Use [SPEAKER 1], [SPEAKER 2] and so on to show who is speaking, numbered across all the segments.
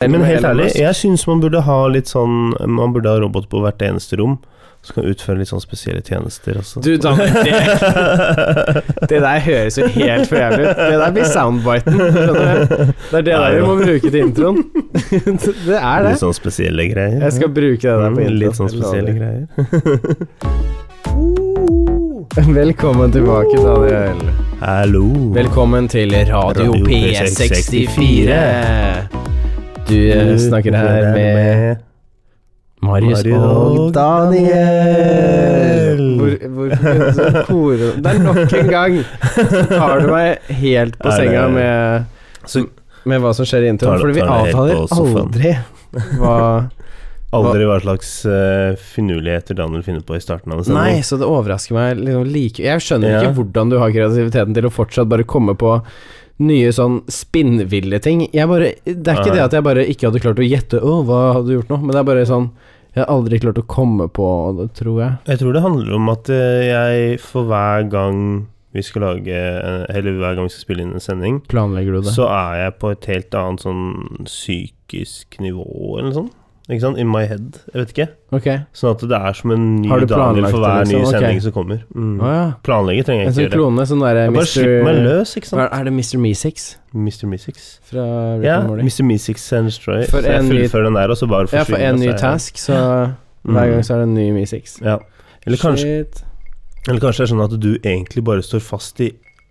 [SPEAKER 1] Men helt
[SPEAKER 2] Elon
[SPEAKER 1] ærlig,
[SPEAKER 2] Musk.
[SPEAKER 1] jeg syns man burde ha litt sånn Man burde ha robot på hvert eneste rom som kan utføre litt sånn spesielle tjenester. Altså.
[SPEAKER 2] Du, Daniel, det, det der høres jo helt for jævlig ut. Det der blir soundbiten. skjønner du? Det er det der vi må bruke til introen. Det er det.
[SPEAKER 1] Litt sånn spesielle greier.
[SPEAKER 2] Jeg skal bruke det der
[SPEAKER 1] Mm,
[SPEAKER 2] på introen.
[SPEAKER 1] Litt sånn spesielle greier.
[SPEAKER 2] greier. Velkommen tilbake, Daniel.
[SPEAKER 1] Hallo.
[SPEAKER 2] Velkommen til Radio
[SPEAKER 1] Radio
[SPEAKER 2] P64. Du eh, snakker her med Marius
[SPEAKER 1] Marius
[SPEAKER 2] og
[SPEAKER 1] og
[SPEAKER 2] Daniel.
[SPEAKER 1] Daniel.
[SPEAKER 2] Hvor, hvorfor begynte du å kore Det er nok en gang så tar du meg helt på
[SPEAKER 1] Er det-
[SPEAKER 2] senga med,
[SPEAKER 1] Så-
[SPEAKER 2] med hva som skjer i
[SPEAKER 1] Tar
[SPEAKER 2] introen.
[SPEAKER 1] det-
[SPEAKER 2] Fordi vi
[SPEAKER 1] tar det helt
[SPEAKER 2] avtaler
[SPEAKER 1] på sofaen.
[SPEAKER 2] aldri hva
[SPEAKER 1] Aldri hva slags eh, finurligheter Daniel finner på i starten av en sending.
[SPEAKER 2] Nei, så det overrasker meg liksom like Jeg skjønner
[SPEAKER 1] Ja.
[SPEAKER 2] ikke hvordan du har kreativiteten til å fortsatt bare komme på nye sånn spinnville ting. Jeg bare Det er ikke
[SPEAKER 1] Nei.
[SPEAKER 2] det at jeg bare ikke hadde klart å gjette Å, hva hadde du gjort nå? Men det er bare sånn Jeg har aldri klart å komme på det, tror jeg.
[SPEAKER 1] Jeg tror det handler om at eh, jeg for hver gang vi skal lage eh, Eller hver gang vi skal spille inn en sending,
[SPEAKER 2] Planlegger du det?
[SPEAKER 1] så er jeg på et helt annet sånn psykisk nivå eller noe sånt. Ikke sant? In my head. Jeg vet ikke.
[SPEAKER 2] Ok.
[SPEAKER 1] Sånn at det er som en ny
[SPEAKER 2] Har du
[SPEAKER 1] Daniel for
[SPEAKER 2] planlagt
[SPEAKER 1] hver
[SPEAKER 2] det,
[SPEAKER 1] ny
[SPEAKER 2] liksom? Ok.
[SPEAKER 1] sending som kommer. Mm.
[SPEAKER 2] Å ja.
[SPEAKER 1] Planlegge trenger
[SPEAKER 2] En
[SPEAKER 1] jeg
[SPEAKER 2] sånn
[SPEAKER 1] ikke gjøre.
[SPEAKER 2] klone, sånn derre
[SPEAKER 1] Jeg bare slipper meg løs, ikke sant.
[SPEAKER 2] Er, er det Mr. Meesix
[SPEAKER 1] Mr. Missix.
[SPEAKER 2] fra Rick
[SPEAKER 1] Ja,
[SPEAKER 2] and Morty?
[SPEAKER 1] Mr. Missix and Destroy.
[SPEAKER 2] For
[SPEAKER 1] Så jeg
[SPEAKER 2] en ny-
[SPEAKER 1] fullfører den der, og så
[SPEAKER 2] Ja,
[SPEAKER 1] bare
[SPEAKER 2] for
[SPEAKER 1] forsvinner
[SPEAKER 2] en ny
[SPEAKER 1] seg.
[SPEAKER 2] task, så
[SPEAKER 1] Mm.
[SPEAKER 2] hver gang så er det en ny Meesix.
[SPEAKER 1] Ja. Eller kanskje,
[SPEAKER 2] Shit.
[SPEAKER 1] eller kanskje det er sånn at du egentlig bare står fast i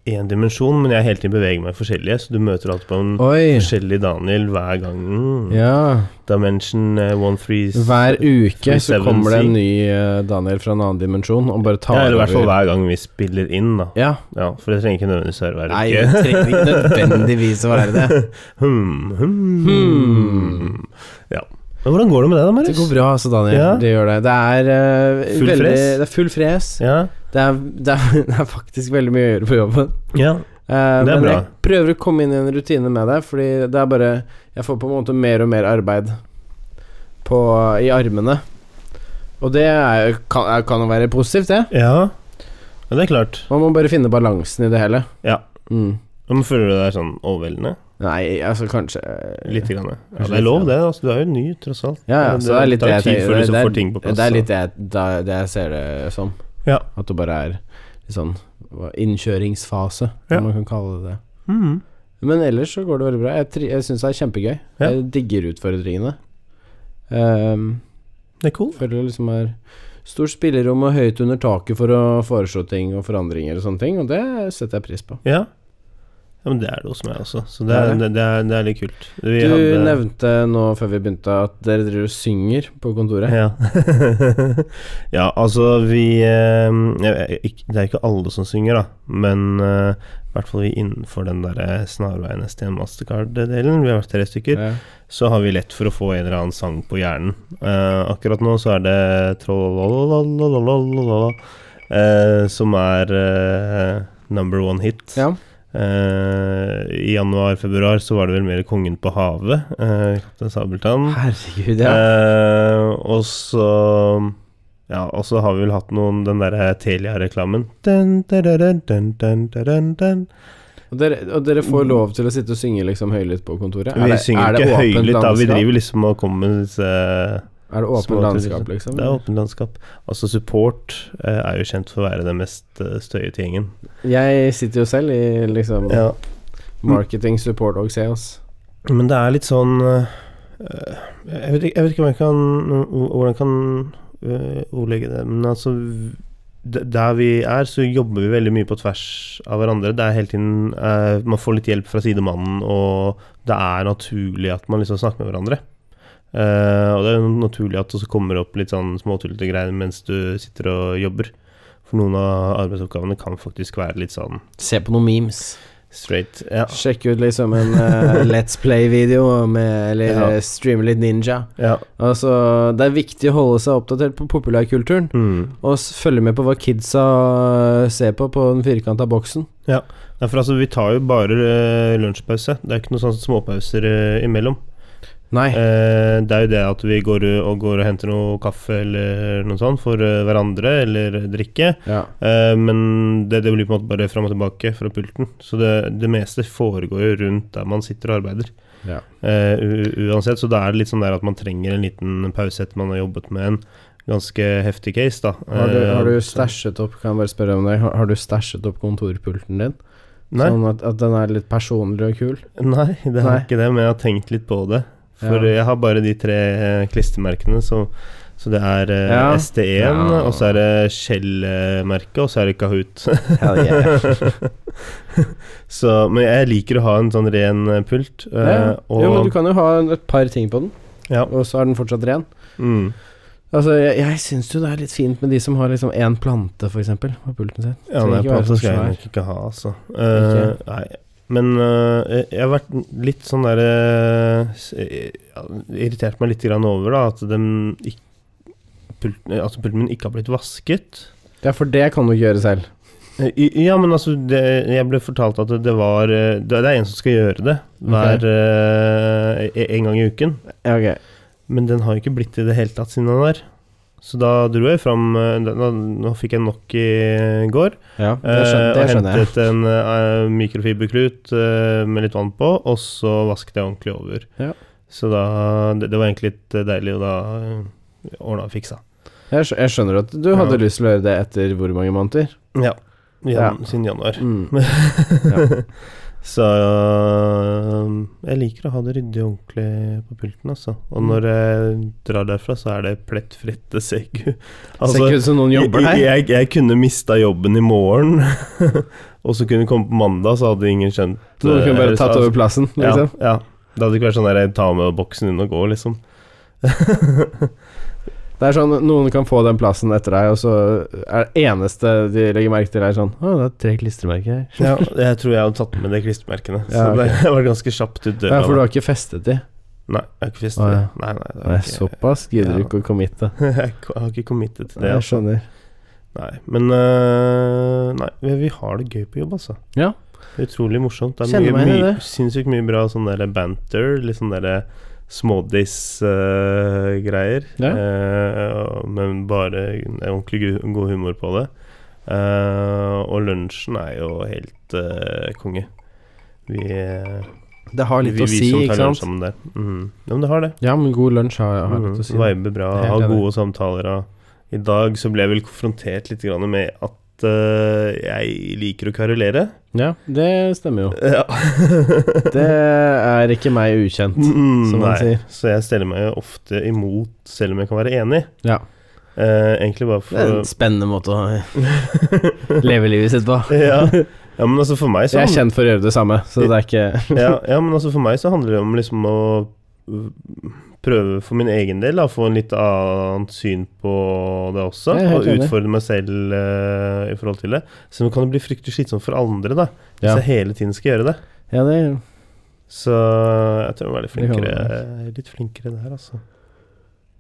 [SPEAKER 1] én dimensjon, men jeg hele tiden beveger meg forskjellige, så du møter alltid på en
[SPEAKER 2] Oi.
[SPEAKER 1] forskjellig Daniel hver gang. Mm.
[SPEAKER 2] Ja.
[SPEAKER 1] Dimension eh, one three
[SPEAKER 2] Hver uke så
[SPEAKER 1] 37
[SPEAKER 2] kommer det en ny eh, Daniel fra en annen dimensjon og bare tar
[SPEAKER 1] Ja, eller i hvert fall hver gang vi spiller inn, da.
[SPEAKER 2] Ja.
[SPEAKER 1] Ja, for det trenger ikke nødvendigvis å være
[SPEAKER 2] Nei,
[SPEAKER 1] hver
[SPEAKER 2] det
[SPEAKER 1] uke.
[SPEAKER 2] trenger ikke nødvendigvis å være det.
[SPEAKER 1] Hmm, hmm.
[SPEAKER 2] Hmm.
[SPEAKER 1] Ja. Men hvordan går det med deg da,
[SPEAKER 2] Det
[SPEAKER 1] Marius?
[SPEAKER 2] går bra, altså, Daniel.
[SPEAKER 1] Ja.
[SPEAKER 2] Det gjør det. Det er eh,
[SPEAKER 1] Full
[SPEAKER 2] veldig
[SPEAKER 1] fres?
[SPEAKER 2] Det er full fres.
[SPEAKER 1] Ja.
[SPEAKER 2] Det, er, det, er, det er faktisk veldig mye å gjøre på jobben.
[SPEAKER 1] ja.
[SPEAKER 2] Eh,
[SPEAKER 1] Det er
[SPEAKER 2] men
[SPEAKER 1] bra.
[SPEAKER 2] jeg prøver å komme inn i en rutine med det, fordi det er bare Jeg får på en måte mer og mer arbeid på, i armene. Og det er, kan er- kan jo være positivt, det.
[SPEAKER 1] Ja. ja, det er klart.
[SPEAKER 2] Man må bare finne balansen i det hele.
[SPEAKER 1] Ja.
[SPEAKER 2] Mm.
[SPEAKER 1] Men føler du deg sånn overveldende?
[SPEAKER 2] Nei, altså kanskje
[SPEAKER 1] Lite grann. Ja,
[SPEAKER 2] Kanskje
[SPEAKER 1] det er lov,
[SPEAKER 2] litt,
[SPEAKER 1] det. Altså, du er jo ny, tross alt.
[SPEAKER 2] Ja, ja, så det er litt det
[SPEAKER 1] tar
[SPEAKER 2] jeg
[SPEAKER 1] tid
[SPEAKER 2] tenker-
[SPEAKER 1] før du
[SPEAKER 2] det-
[SPEAKER 1] så
[SPEAKER 2] det er-
[SPEAKER 1] får ting på plass.
[SPEAKER 2] Det er
[SPEAKER 1] så-
[SPEAKER 2] litt det, jeg- da- det jeg ser det som.
[SPEAKER 1] Ja.
[SPEAKER 2] At det bare er litt sånn hva- innkjøringsfase,
[SPEAKER 1] Ja.
[SPEAKER 2] om man kan kalle det det. Hmm.
[SPEAKER 1] Mhm.
[SPEAKER 2] Men ellers så går det veldig bra. Jeg, tri- jeg syns det er kjempegøy.
[SPEAKER 1] Ja.
[SPEAKER 2] Jeg digger utfordringene. Um,
[SPEAKER 1] Det er cool.
[SPEAKER 2] føler det liksom er stort spillerom og høyt under taket for å foreslå ting og forandringer og sånne ting, og det setter jeg pris på.
[SPEAKER 1] Ja. ja. Men det er det hos meg også, så det
[SPEAKER 2] Det
[SPEAKER 1] er,
[SPEAKER 2] er
[SPEAKER 1] det, det er, det er litt kult. Vi
[SPEAKER 2] Du
[SPEAKER 1] hadde-
[SPEAKER 2] nevnte nå før vi begynte at dere driver og synger på kontoret.
[SPEAKER 1] Ja. ja, altså vi eh, jeg, jeg- ikk- Det er ikke alle som synger, da, men eh, i hvert fall vi innenfor den derre snarveien STM Mastercard-delen, vi har vært tre stykker,
[SPEAKER 2] Ja.
[SPEAKER 1] så har vi lett for å få en eller annen sang på hjernen. Eh, akkurat nå så er det trollalalalalala, eh, som er eh, number one hit.
[SPEAKER 2] Ja.
[SPEAKER 1] Eh, I januar-februar så var det vel mer 'Kongen på havet', eh, Kaptein Sabeltann.
[SPEAKER 2] Herregud, ja.
[SPEAKER 1] Eh, og så Ja, og så har vi vel hatt noen den derre Telia-reklamen. Dun, dun, dun, dun, dun, dun, dun.
[SPEAKER 2] Og dere, og dere får lov til å sitte og synge liksom høylytt på kontoret?
[SPEAKER 1] Vi synger ikke
[SPEAKER 2] åpent
[SPEAKER 1] høylytt da, vi
[SPEAKER 2] landskap?
[SPEAKER 1] driver liksom og kommer med disse
[SPEAKER 2] Er det
[SPEAKER 1] små
[SPEAKER 2] åpent landskap,
[SPEAKER 1] aktiviteter.
[SPEAKER 2] liksom?
[SPEAKER 1] Det er åpent landskap. Altså, support eh, er jo kjent for å være den mest eh, støyete gjengen.
[SPEAKER 2] Jeg sitter jo selv i liksom
[SPEAKER 1] Ja.
[SPEAKER 2] marketing, support og sales.
[SPEAKER 1] Men det er litt sånn eh, Jeg vet ikke, jeg vet ikke om jeg kan, hvordan jeg kan eh, ordlegge det, men altså d- der vi er, så jobber vi veldig mye på tvers av hverandre. Det er hele tiden eh, Man får litt hjelp fra sidemannen, og det er naturlig at man liksom snakker med hverandre. Eh, og det er jo naturlig at det også kommer opp litt sånn småtullete greier mens du sitter og jobber. For noen av arbeidsoppgavene kan faktisk være litt sånn
[SPEAKER 2] Se på noen memes.
[SPEAKER 1] straight. Ja.
[SPEAKER 2] Sjekk ut liksom en eh, Let's Play-video, med- eller
[SPEAKER 1] Ja.
[SPEAKER 2] eh, streame litt Ninja.
[SPEAKER 1] ja.
[SPEAKER 2] Altså, det er viktig å holde seg oppdatert på populærkulturen,
[SPEAKER 1] Mm.
[SPEAKER 2] og s- følge med på hva kidsa eh, ser på på den firkanta boksen.
[SPEAKER 1] Nei, for altså, vi tar jo bare eh, lunsjpause. Det er ikke noen sånne småpauser eh, imellom.
[SPEAKER 2] Nei.
[SPEAKER 1] Eh, det er jo det at vi går eh, og, går og henter noe kaffe eller noe sånt for eh, hverandre, eller drikke.
[SPEAKER 2] Ja.
[SPEAKER 1] Eh, men det, det blir på en måte bare fram og tilbake fra pulten. Så det, det meste foregår jo rundt der man sitter og arbeider.
[SPEAKER 2] Ja.
[SPEAKER 1] Eh, u- u- uansett, så da er det litt sånn der at man trenger en liten pause etter man har jobbet med en ganske heftig case, da.
[SPEAKER 2] Har du,
[SPEAKER 1] Eh,
[SPEAKER 2] har du
[SPEAKER 1] så-
[SPEAKER 2] stæsjet opp Kan jeg bare spørre om det? Har, har du stæsjet opp kontorpulten din?
[SPEAKER 1] Nei,
[SPEAKER 2] Sånn at, at den er litt personlig og kul?
[SPEAKER 1] nei, det har
[SPEAKER 2] Nei.
[SPEAKER 1] ikke det, men jeg har tenkt litt på det. For
[SPEAKER 2] Ja.
[SPEAKER 1] jeg har bare de tre eh, klistremerkene, så, så det er eh,
[SPEAKER 2] Ja.
[SPEAKER 1] ST1,
[SPEAKER 2] Ja.
[SPEAKER 1] og så er det Shell-merket, og så er det Kahoot.
[SPEAKER 2] Hell yeah.
[SPEAKER 1] så, men jeg liker å ha en sånn ren eh, pult. eh,
[SPEAKER 2] ja.
[SPEAKER 1] og,
[SPEAKER 2] Jo, men du kan jo ha en- et par ting på den,
[SPEAKER 1] ja,
[SPEAKER 2] og så er den fortsatt ren.
[SPEAKER 1] mm,
[SPEAKER 2] Altså, jeg, jeg syns jo det er litt fint med de som har liksom én plante, for eksempel, på pulten sin.
[SPEAKER 1] ja,
[SPEAKER 2] Trenger
[SPEAKER 1] nei,
[SPEAKER 2] ikke være
[SPEAKER 1] plate
[SPEAKER 2] så
[SPEAKER 1] skal jeg
[SPEAKER 2] svær.
[SPEAKER 1] nok ikke ha, altså. Eh, Nei. Men eh, jeg har vært litt sånn der eh, s- eh, ja, Irritert meg litt grann over da, at den ikk- pulten, eh, altså pulten min ikke har blitt vasket.
[SPEAKER 2] Ja, for det kan du ikke gjøre selv.
[SPEAKER 1] Eh, i- Ja, men altså det, Jeg ble fortalt at det- det var eh, Det det er en som skal gjøre det hver eh, e- en gang i uken.
[SPEAKER 2] Ja, ok.
[SPEAKER 1] Men den har jo ikke blitt i det hele tatt siden den var. Så da dro jeg fram eh, da, da, Nå fikk jeg nok i eh, går.
[SPEAKER 2] Ja, det
[SPEAKER 1] eh,
[SPEAKER 2] skjønner, det
[SPEAKER 1] og
[SPEAKER 2] skjønner jeg.
[SPEAKER 1] hentet en eh, mikrofiberklut eh, med litt vann på, og så vasket jeg ordentlig over.
[SPEAKER 2] Ja.
[SPEAKER 1] Så da det, det var egentlig litt deilig, og da eh, ordna og fiksa.
[SPEAKER 2] Jeg, skj- jeg skjønner at du hadde
[SPEAKER 1] Ja.
[SPEAKER 2] lyst til å gjøre det etter hvor mange måneder?
[SPEAKER 1] Ja.
[SPEAKER 2] Ja.
[SPEAKER 1] Jan, Siden januar.
[SPEAKER 2] Mm.
[SPEAKER 1] Så eh, jeg liker å ha det ryddig og ordentlig på pulten, altså. Og
[SPEAKER 2] Mm.
[SPEAKER 1] når jeg drar derfra, så er det plettfritt. Det ser ikke altså,
[SPEAKER 2] Ser ikke ut som noen jobber
[SPEAKER 1] Jeg,
[SPEAKER 2] der.
[SPEAKER 1] jeg, jeg kunne mista jobben i morgen, og så kunne jeg komme på mandag, så hadde ingen skjønt
[SPEAKER 2] Noen kunne
[SPEAKER 1] eh,
[SPEAKER 2] bare tatt
[SPEAKER 1] altså,
[SPEAKER 2] over plassen, liksom.
[SPEAKER 1] Ja, ja. Det hadde ikke vært sånn der jeg tar med boksen din og går, liksom.
[SPEAKER 2] Det er sånn, Noen kan få den plassen etter deg, og så er det eneste de legger merke til, er sånn Å, det er tre klistremerker her.
[SPEAKER 1] Ja, jeg tror jeg hadde tatt med de klistremerkene.
[SPEAKER 2] Ja,
[SPEAKER 1] Så
[SPEAKER 2] ok.
[SPEAKER 1] det- jeg var ganske kjapt ut døra.
[SPEAKER 2] Ja, for du
[SPEAKER 1] da.
[SPEAKER 2] har ikke festet de.
[SPEAKER 1] Nei, jeg har ikke fistet
[SPEAKER 2] Å, ja.
[SPEAKER 1] det. Nei, nei, det har
[SPEAKER 2] Nei,
[SPEAKER 1] jeg ikke.
[SPEAKER 2] såpass gidder du
[SPEAKER 1] ja.
[SPEAKER 2] ikke å committe.
[SPEAKER 1] jeg har ikke committet til det.
[SPEAKER 2] Jeg
[SPEAKER 1] altså.
[SPEAKER 2] skjønner.
[SPEAKER 1] Nei, men øh, Nei, vi- vi har det gøy på jobb, altså.
[SPEAKER 2] Ja.
[SPEAKER 1] Det er Utrolig morsomt. Det er
[SPEAKER 2] Kjenner
[SPEAKER 1] mye,
[SPEAKER 2] meg igjen i
[SPEAKER 1] mye,
[SPEAKER 2] det.
[SPEAKER 1] sinnssykt mye bra sånn der banter, litt sånn derre smådiss-greier.
[SPEAKER 2] Ja.
[SPEAKER 1] Eh, men bare en ordentlig gu- god humor på det. Eh, og lunsjen er jo helt eh, konge. Vi, eh,
[SPEAKER 2] Det har litt
[SPEAKER 1] vi,
[SPEAKER 2] å
[SPEAKER 1] vi
[SPEAKER 2] si,
[SPEAKER 1] som
[SPEAKER 2] ikke
[SPEAKER 1] tar lunsj
[SPEAKER 2] sant?
[SPEAKER 1] sammen Mm. der. Mm. Ja, men det har det.
[SPEAKER 2] Ja, men god lunsj har, har litt å si.
[SPEAKER 1] Vibe bra,
[SPEAKER 2] Helt
[SPEAKER 1] ha
[SPEAKER 2] enig.
[SPEAKER 1] gode samtaler. Og I dag så ble jeg vel konfrontert litt grann med at eh, jeg liker å karolere.
[SPEAKER 2] Ja, det stemmer jo.
[SPEAKER 1] Ja.
[SPEAKER 2] Det er ikke meg ukjent,
[SPEAKER 1] Mm,
[SPEAKER 2] som man
[SPEAKER 1] nei.
[SPEAKER 2] sier.
[SPEAKER 1] Så jeg steller meg jo ofte imot, selv om jeg kan være enig.
[SPEAKER 2] Ja.
[SPEAKER 1] Eh, egentlig bare
[SPEAKER 2] Det er en
[SPEAKER 1] for
[SPEAKER 2] spennende måte å leve livet sitt på.
[SPEAKER 1] ja. ja, men altså for meg så
[SPEAKER 2] Jeg er kjent for å gjøre det samme, så det er ikke
[SPEAKER 1] ja, ja, men altså for meg så handler det om liksom å uh, prøve for min egen del, da, få en litt annet syn på det også,
[SPEAKER 2] Jeg er helt
[SPEAKER 1] og
[SPEAKER 2] enig.
[SPEAKER 1] utfordre meg selv eh, i forhold til det. Så nå kan det bli fryktelig slitsomt for andre, da, hvis
[SPEAKER 2] Ja.
[SPEAKER 1] jeg hele tiden skal gjøre det.
[SPEAKER 2] Ja, det
[SPEAKER 1] Så jeg tror jeg må være litt
[SPEAKER 2] Det kan
[SPEAKER 1] flinkere,
[SPEAKER 2] være.
[SPEAKER 1] litt flinkere der, altså.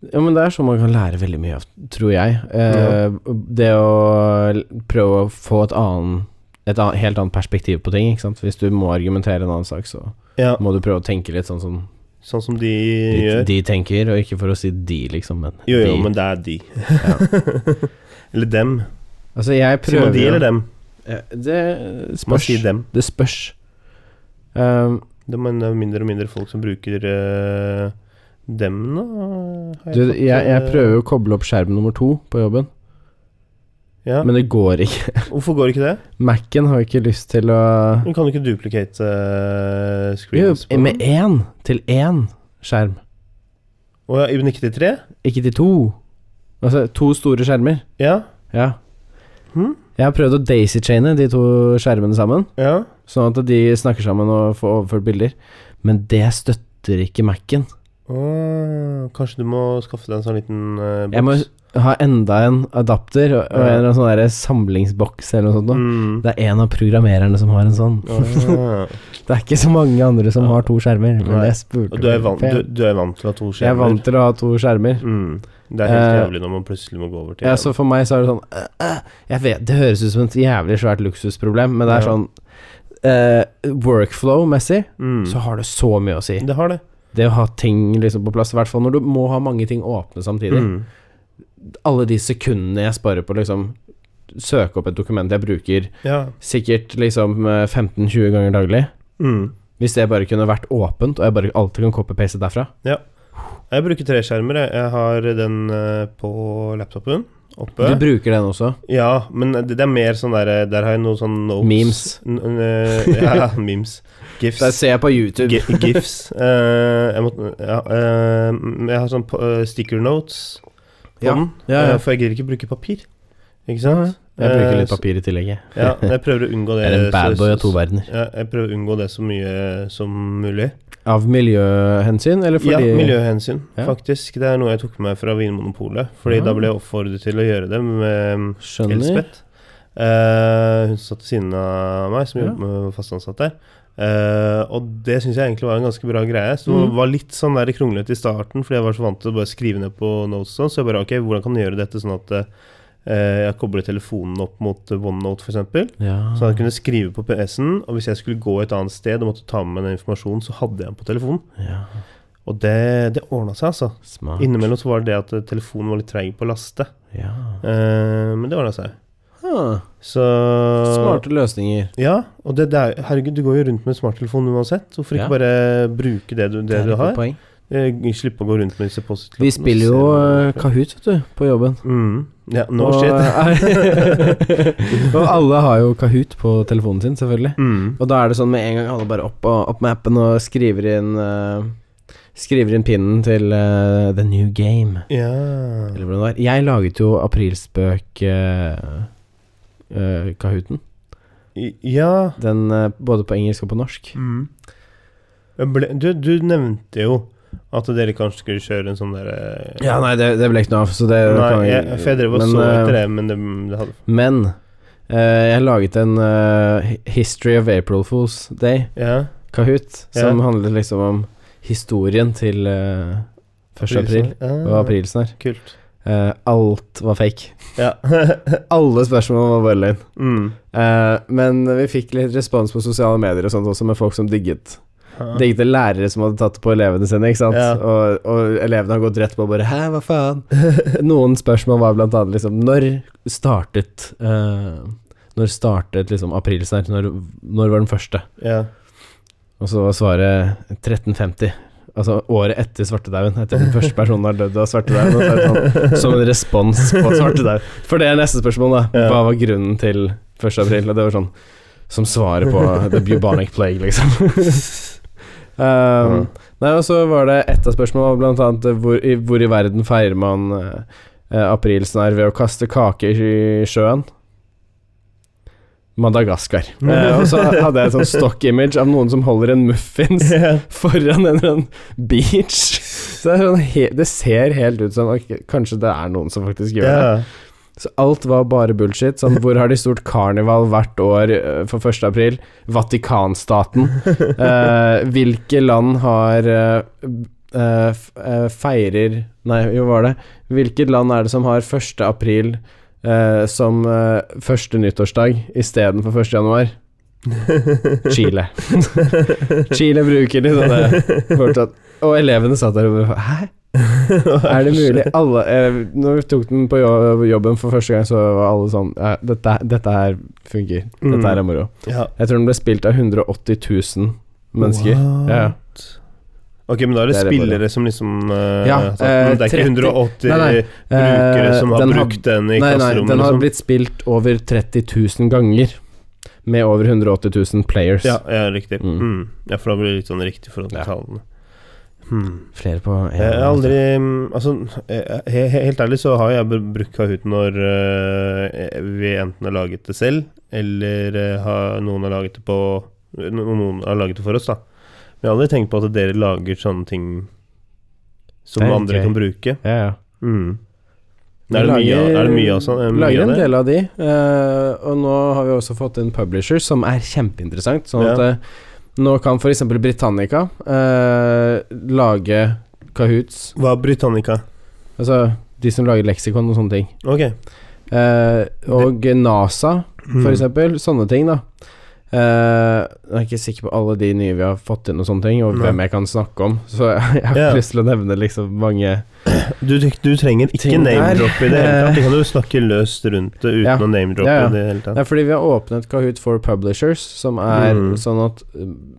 [SPEAKER 2] Ja, men det er sånn man kan lære veldig mye av, tror jeg. Eh,
[SPEAKER 1] Ja.
[SPEAKER 2] Det å l- prøve å få et annen et annet, helt annet perspektiv på ting. Ikke sant? Hvis du må argumentere en annen sak, så
[SPEAKER 1] Ja,
[SPEAKER 2] må du prøve å tenke litt sånn som
[SPEAKER 1] sånn som de
[SPEAKER 2] de,
[SPEAKER 1] gjør.
[SPEAKER 2] de tenker, og ikke for å si de, liksom, men
[SPEAKER 1] Jo, jo,
[SPEAKER 2] de.
[SPEAKER 1] men det er de. eller dem.
[SPEAKER 2] Altså, jeg
[SPEAKER 1] Sier
[SPEAKER 2] prøver
[SPEAKER 1] man de eller dem?
[SPEAKER 2] Ja, Det
[SPEAKER 1] Man
[SPEAKER 2] spørs.
[SPEAKER 1] sier dem.
[SPEAKER 2] Det spørs. Um,
[SPEAKER 1] Det er men det er mindre og mindre folk som bruker eh, dem nå. har
[SPEAKER 2] du,
[SPEAKER 1] fått,
[SPEAKER 2] jeg, jeg
[SPEAKER 1] eh,
[SPEAKER 2] prøver å koble opp skjerm nummer to på jobben,
[SPEAKER 1] ja.
[SPEAKER 2] men det går ikke.
[SPEAKER 1] Hvorfor går ikke det?
[SPEAKER 2] Mac-en har ikke lyst til å
[SPEAKER 1] Men kan du ikke duplicate
[SPEAKER 2] Jo,
[SPEAKER 1] eh, screens? på den?
[SPEAKER 2] med én til én skjerm.
[SPEAKER 1] Å ja, men ikke til tre?
[SPEAKER 2] Ikke til to. Altså to store skjermer.
[SPEAKER 1] Ja.
[SPEAKER 2] Ja.
[SPEAKER 1] Mhm.
[SPEAKER 2] Jeg har prøvd å daisy-chaine de to skjermene sammen,
[SPEAKER 1] ja.
[SPEAKER 2] sånn at de snakker sammen og får overført bilder. Men det støtter ikke Mac-en.
[SPEAKER 1] Å, kanskje du må skaffe deg en sånn liten eh, boks?
[SPEAKER 2] Jeg må ha enda en adapter og, og en
[SPEAKER 1] Ja.
[SPEAKER 2] eller annen sånn der samlingsboks eller noe sånt. nå.
[SPEAKER 1] Mm. Ah.
[SPEAKER 2] Det er en av programmererne som har en sånn.
[SPEAKER 1] Å, ja.
[SPEAKER 2] Det er ikke så mange andre som
[SPEAKER 1] Ja.
[SPEAKER 2] har to skjermer. Men
[SPEAKER 1] Nei.
[SPEAKER 2] jeg spurte
[SPEAKER 1] Og du er, vant,
[SPEAKER 2] for jeg-
[SPEAKER 1] du, du er vant til å ha to skjermer?
[SPEAKER 2] Jeg er vant til å ha to skjermer.
[SPEAKER 1] Mm. Det er helt
[SPEAKER 2] Eh,
[SPEAKER 1] jævlig når man plutselig må gå over til
[SPEAKER 2] Ja,
[SPEAKER 1] en.
[SPEAKER 2] så for meg så er det sånn øh, øh, Jeg vet, Det høres ut som et jævlig svært luksusproblem, men det er
[SPEAKER 1] Ja.
[SPEAKER 2] sånn eh, Workflow-messig
[SPEAKER 1] mm.
[SPEAKER 2] så har det så mye å si.
[SPEAKER 1] Det har det.
[SPEAKER 2] Det å ha ting liksom på plass, i hvert fall når du må ha mange ting åpne samtidig.
[SPEAKER 1] Mm.
[SPEAKER 2] Alle de sekundene jeg sparer på å liksom søke opp et dokument jeg bruker
[SPEAKER 1] Ja.
[SPEAKER 2] sikkert liksom eh, 15-20 ganger daglig,
[SPEAKER 1] Mm.
[SPEAKER 2] Hvis det bare kunne vært åpent, og jeg bare alltid kan copy-paste derfra.
[SPEAKER 1] Jeg bruker tre skjermer. jeg. Jeg har den eh, på laptopen oppe.
[SPEAKER 2] Du bruker den også?
[SPEAKER 1] Ja, men det, det er mer sånn der Der har jeg noen sånne notes.
[SPEAKER 2] Memes.
[SPEAKER 1] N n eh, ja, memes. Gifs.
[SPEAKER 2] Der ser jeg på YouTube.
[SPEAKER 1] Gi- GIFs. Eh, jeg, må, ja, eh, men jeg har sånn på- eh, sticker notes på
[SPEAKER 2] Ja.
[SPEAKER 1] den,
[SPEAKER 2] Ja, ja.
[SPEAKER 1] eh, for jeg gidder ikke bruke papir. Ikke sant?
[SPEAKER 2] Jeg bruker
[SPEAKER 1] Eh,
[SPEAKER 2] litt papir i tillegg, jeg.
[SPEAKER 1] så- Ja, men jeg prøver å unngå det. eh,
[SPEAKER 2] Jeg er en
[SPEAKER 1] så-
[SPEAKER 2] badboy av to
[SPEAKER 1] så-
[SPEAKER 2] verdener.
[SPEAKER 1] ja, jeg prøver å unngå det så mye som mulig.
[SPEAKER 2] Av miljøhensyn, eller fordi
[SPEAKER 1] ja, miljøhensyn,
[SPEAKER 2] Ja.
[SPEAKER 1] faktisk. Det er noe jeg tok med meg fra Vinmonopolet. Fordi
[SPEAKER 2] Ja.
[SPEAKER 1] da ble jeg oppfordret til å gjøre det med
[SPEAKER 2] Skjønner.
[SPEAKER 1] Elspeth. Eh, hun satt ved siden av meg, som
[SPEAKER 2] Ja.
[SPEAKER 1] jobber med fast ansatt der. Eh, og det syns jeg egentlig var en ganske bra greie. Så det
[SPEAKER 2] Mhm.
[SPEAKER 1] var litt sånn der kronglete i starten, fordi jeg var så vant til å bare skrive ned på notes. og sånn, Så jeg bare ok, hvordan kan jeg gjøre dette sånn at eh, jeg kobler telefonen opp mot OneNote f.eks.?
[SPEAKER 2] Ja.
[SPEAKER 1] Sånn at jeg kunne skrive på PS-en, og hvis jeg skulle gå et annet sted og måtte ta med meg den informasjonen, så hadde jeg den på telefonen.
[SPEAKER 2] ja.
[SPEAKER 1] Og det, det ordna seg, altså.
[SPEAKER 2] Smart.
[SPEAKER 1] Innimellom så var det det at eh, telefonen var litt treig på å laste,
[SPEAKER 2] Ja.
[SPEAKER 1] Eh, men det ordna seg.
[SPEAKER 2] Ah,
[SPEAKER 1] Så
[SPEAKER 2] smarte løsninger.
[SPEAKER 1] Ja, og det, det er, herregud, du går jo rundt med smarttelefon uansett. Hvorfor
[SPEAKER 2] Ja.
[SPEAKER 1] ikke bare bruke det du, det
[SPEAKER 2] er
[SPEAKER 1] du
[SPEAKER 2] et godt
[SPEAKER 1] har?
[SPEAKER 2] poeng.
[SPEAKER 1] Eh, Slippe å gå rundt med disse post-it-lappene.
[SPEAKER 2] Vi
[SPEAKER 1] og
[SPEAKER 2] spiller
[SPEAKER 1] se
[SPEAKER 2] jo
[SPEAKER 1] hva
[SPEAKER 2] eh,
[SPEAKER 1] du får.
[SPEAKER 2] Kahoot, vet du, på jobben.
[SPEAKER 1] mm. Ja, no
[SPEAKER 2] og,
[SPEAKER 1] shit.
[SPEAKER 2] og alle har jo Kahoot på telefonen sin, selvfølgelig.
[SPEAKER 1] Mm.
[SPEAKER 2] Og da er det sånn med en gang alle bare opp, og, opp med appen og skriver inn eh, Skriver inn pinnen til eh, The New Game.
[SPEAKER 1] Ja.
[SPEAKER 2] Eller hvordan det var. Jeg laget jo aprilspøk eh, eh, Kahooten.
[SPEAKER 1] I- ja.
[SPEAKER 2] Den eh, både på engelsk og på norsk.
[SPEAKER 1] Mm. Jeg Ble, du, du nevnte jo at dere kanskje skulle kjøre en sånn derre
[SPEAKER 2] Ja, nei, det, det ble ikke noe av, så det
[SPEAKER 1] Nei,
[SPEAKER 2] Eh, kan vi-
[SPEAKER 1] jeg, for jeg drev og
[SPEAKER 2] men,
[SPEAKER 1] så
[SPEAKER 2] eh,
[SPEAKER 1] etter det, men det, det hadde
[SPEAKER 2] Men eh, jeg laget en eh, hi- History of April Fools Day,
[SPEAKER 1] Ja.
[SPEAKER 2] Kahoot, som
[SPEAKER 1] Ja.
[SPEAKER 2] handlet liksom om historien til eh, 1. april og
[SPEAKER 1] Ah,
[SPEAKER 2] aprilsnarr.
[SPEAKER 1] Kult.
[SPEAKER 2] Eh, alt var fake.
[SPEAKER 1] Ja.
[SPEAKER 2] Alle spørsmål var bare løgn.
[SPEAKER 1] mm.
[SPEAKER 2] Eh, men vi fikk litt respons på sosiale medier og sånt også, med folk som digget
[SPEAKER 1] Ah.
[SPEAKER 2] Digget lærere som hadde tatt det på elevene sine, ikke sant?
[SPEAKER 1] Ja.
[SPEAKER 2] Og, og elevene har gått rett på og bare 'hæ, hva faen?' Noen spørsmål var blant annet liksom Når startet eh, Når startet liksom aprilsnarr? Når, når var den første?
[SPEAKER 1] Ja.
[SPEAKER 2] Og så var svaret 1350. Altså året etter svartedauden. Etter den første personen har dødd av svartedauden. og så er det Sånn, som en respons på svartedauden. For det er neste spørsmål, da.
[SPEAKER 1] Ja.
[SPEAKER 2] Hva var grunnen til 1. april? Og det var sånn Som svaret på the bubonic plague, liksom. um, Nei, og så var det ett av spørsmålene, blant annet eh, hvor i, hvor i verden feirer man eh, eh, aprilsnarr ved å kaste kake i sjøen? Madagaskar. Eh, og så hadde jeg et sånn stock-image av noen som holder en muffins
[SPEAKER 1] Ja.
[SPEAKER 2] foran en eller annen beach. Så det, er sånn, he- det ser helt ut som ok, Kanskje det er noen som faktisk gjør det.
[SPEAKER 1] Ja.
[SPEAKER 2] Så alt var bare bullshit. Sånn, hvor har de stort karneval hvert år eh, for 1. april? Vatikanstaten. Eh, hvilke land har eh, eh, f- eh, feirer Nei, jo, var det Hvilket land er det som har 1. april eh, som eh, første nyttårsdag istedenfor 1. januar? Chile. Chile bruker de sånne fortsatt. Og elevene satt der og bare Hæ? Er det mulig? Alle eh, Når vi tok den på jo- jobben for første gang, så var alle sånn eh, dette, dette her funker. Dette
[SPEAKER 1] Mm.
[SPEAKER 2] her er moro.
[SPEAKER 1] Ja.
[SPEAKER 2] Jeg tror den ble spilt av 180 000 mennesker.
[SPEAKER 1] What?
[SPEAKER 2] Ja.
[SPEAKER 1] Ok, men da er det,
[SPEAKER 2] Det er det bare.
[SPEAKER 1] spillere som liksom eh,
[SPEAKER 2] Ja,
[SPEAKER 1] har sagt, men Det er
[SPEAKER 2] eh,
[SPEAKER 1] ikke 180
[SPEAKER 2] Nei, nei,
[SPEAKER 1] brukere
[SPEAKER 2] Eh,
[SPEAKER 1] som har
[SPEAKER 2] den
[SPEAKER 1] brukt den i
[SPEAKER 2] Nei, nei,
[SPEAKER 1] klasserommet?
[SPEAKER 2] den har
[SPEAKER 1] liksom.
[SPEAKER 2] blitt spilt over 30 000 ganger. Med over 180 000 players.
[SPEAKER 1] ja, ja, riktig.
[SPEAKER 2] Mm.
[SPEAKER 1] Mm. Ja, for da blir det litt sånn riktig forhold til
[SPEAKER 2] Ja.
[SPEAKER 1] tallene. Hmm.
[SPEAKER 2] Flere på en
[SPEAKER 1] Jeg har aldri mm, Altså, eh, he, he, helt ærlig så har jeg br- brukt Kahoot når eh, vi enten har laget det selv, eller eh, har, noen har laget det på no- Noen har laget det for oss, da. Men jeg har aldri tenkt på at dere lager sånne ting som
[SPEAKER 2] Det er
[SPEAKER 1] andre
[SPEAKER 2] gøy.
[SPEAKER 1] kan bruke.
[SPEAKER 2] Ja, ja.
[SPEAKER 1] Mm. Er, det mye, av- er det mye av sånn? eh, mye
[SPEAKER 2] Lager
[SPEAKER 1] av
[SPEAKER 2] en
[SPEAKER 1] det?
[SPEAKER 2] del av de. eh, og nå har vi også fått en publisher som er kjempeinteressant. Sånn
[SPEAKER 1] Ja.
[SPEAKER 2] at eh, nå kan f.eks. Britannica eh, lage Kahoots
[SPEAKER 1] Hva er Britannica?
[SPEAKER 2] Altså de som lager leksikon og sånne ting.
[SPEAKER 1] Ok.
[SPEAKER 2] Eh, og NASA,
[SPEAKER 1] Mm.
[SPEAKER 2] for eksempel. Sånne ting, da. Eh, jeg er ikke sikker på alle de nye vi har fått inn og sånne ting, og
[SPEAKER 1] Nei.
[SPEAKER 2] hvem jeg kan snakke om. Så jeg har ikke
[SPEAKER 1] Ja.
[SPEAKER 2] lyst til å nevne liksom mange
[SPEAKER 1] Du, du trenger ikke
[SPEAKER 2] Ting der.
[SPEAKER 1] name-droppe i det hele tatt.
[SPEAKER 2] Eh.
[SPEAKER 1] Du kan jo snakke løst rundt det uten
[SPEAKER 2] Ja.
[SPEAKER 1] å name-droppe
[SPEAKER 2] Ja, ja.
[SPEAKER 1] i det hele tatt.
[SPEAKER 2] Det er fordi vi har åpnet Kahoot for Publishers, som er
[SPEAKER 1] Mm.
[SPEAKER 2] sånn at um,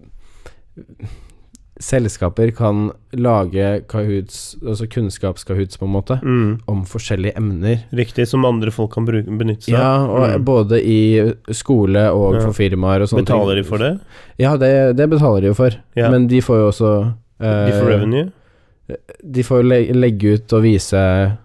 [SPEAKER 2] selskaper kan lage kahoots, altså kunnskapskahoots på en måte,
[SPEAKER 1] Mm.
[SPEAKER 2] om forskjellige emner.
[SPEAKER 1] Riktig, som andre folk kan bruke, benytte seg av.
[SPEAKER 2] Ja, og
[SPEAKER 1] Mm.
[SPEAKER 2] både i skole og
[SPEAKER 1] Ja.
[SPEAKER 2] for firmaer og sånne
[SPEAKER 1] Betaler de for det?
[SPEAKER 2] Ja, det, det betaler de jo for.
[SPEAKER 1] Ja.
[SPEAKER 2] Men de får jo også
[SPEAKER 1] De får
[SPEAKER 2] eh,
[SPEAKER 1] revenue?
[SPEAKER 2] de får le legge ut og vise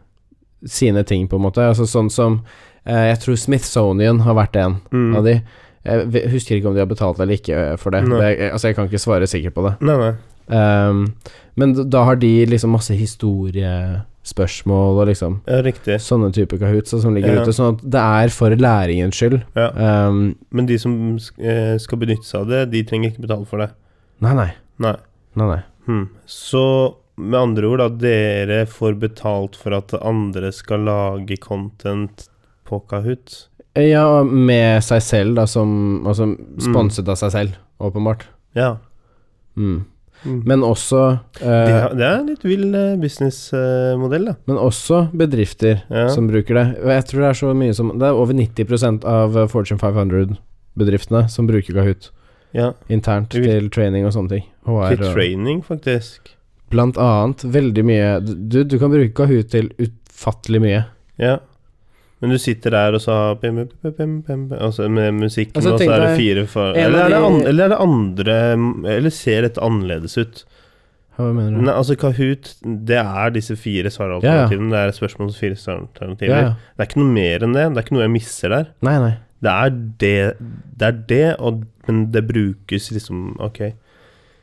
[SPEAKER 2] sine ting, på en måte. Altså sånn som eh, Jeg tror Smithsonian har vært en
[SPEAKER 1] Mm.
[SPEAKER 2] av de. Jeg ve- husker ikke om de har betalt eller ikke eh, for det.
[SPEAKER 1] Nei.
[SPEAKER 2] det er- altså, jeg kan ikke svare sikkert på det.
[SPEAKER 1] Nei, nei.
[SPEAKER 2] Ehm, men d- da har de liksom masse historiespørsmål og liksom
[SPEAKER 1] Ja, riktig.
[SPEAKER 2] sånne typer kahoots da, som ligger
[SPEAKER 1] Ja.
[SPEAKER 2] ute. Sånn at det er for læringens skyld.
[SPEAKER 1] Ja.
[SPEAKER 2] Ehm,
[SPEAKER 1] Men de som eh, skal benytte seg av det, de trenger ikke betale for det.
[SPEAKER 2] nei, nei.
[SPEAKER 1] Nei.
[SPEAKER 2] Nei, nei.
[SPEAKER 1] Hmm. Så med andre ord, da, dere får betalt for at andre skal lage content på Kahoot?
[SPEAKER 2] Ja, og med seg selv, da, som Altså
[SPEAKER 1] Mm.
[SPEAKER 2] sponset av seg selv, åpenbart.
[SPEAKER 1] Ja.
[SPEAKER 2] Mm.
[SPEAKER 1] Mm.
[SPEAKER 2] Men også eh,
[SPEAKER 1] det, er- det er en litt vill eh, businessmodell, da.
[SPEAKER 2] Men også bedrifter
[SPEAKER 1] Ja.
[SPEAKER 2] som bruker det. Og jeg tror det er så mye som Det er over 90 av eh, Fortune 500-bedriftene som bruker Kahoot
[SPEAKER 1] ja.
[SPEAKER 2] internt
[SPEAKER 1] Det
[SPEAKER 2] til
[SPEAKER 1] vil-
[SPEAKER 2] training og sånne ting. HR
[SPEAKER 1] Til
[SPEAKER 2] og
[SPEAKER 1] training, faktisk.
[SPEAKER 2] Blant annet veldig mye Du, du kan bruke Kahoot til utfattelig mye.
[SPEAKER 1] Ja. Men du sitter der og så har pim, pim, pim, pim, pim, og så med musikken,
[SPEAKER 2] Altså,
[SPEAKER 1] og så
[SPEAKER 2] tenk
[SPEAKER 1] er det
[SPEAKER 2] deg-
[SPEAKER 1] fire for,
[SPEAKER 2] en
[SPEAKER 1] eller,
[SPEAKER 2] av
[SPEAKER 1] er det
[SPEAKER 2] de-
[SPEAKER 1] an, eller er det andre Eller ser dette annerledes ut?
[SPEAKER 2] Hva mener du?
[SPEAKER 1] Nei, altså Kahoot, det er disse fire svaralternativene. Det er spørsmål om fire svaralternativer.
[SPEAKER 2] ja, ja.
[SPEAKER 1] Det er ikke noe mer enn det. Det er ikke noe jeg misser der.
[SPEAKER 2] Nei, nei.
[SPEAKER 1] Det er det, det, er det og, men det brukes liksom Ok.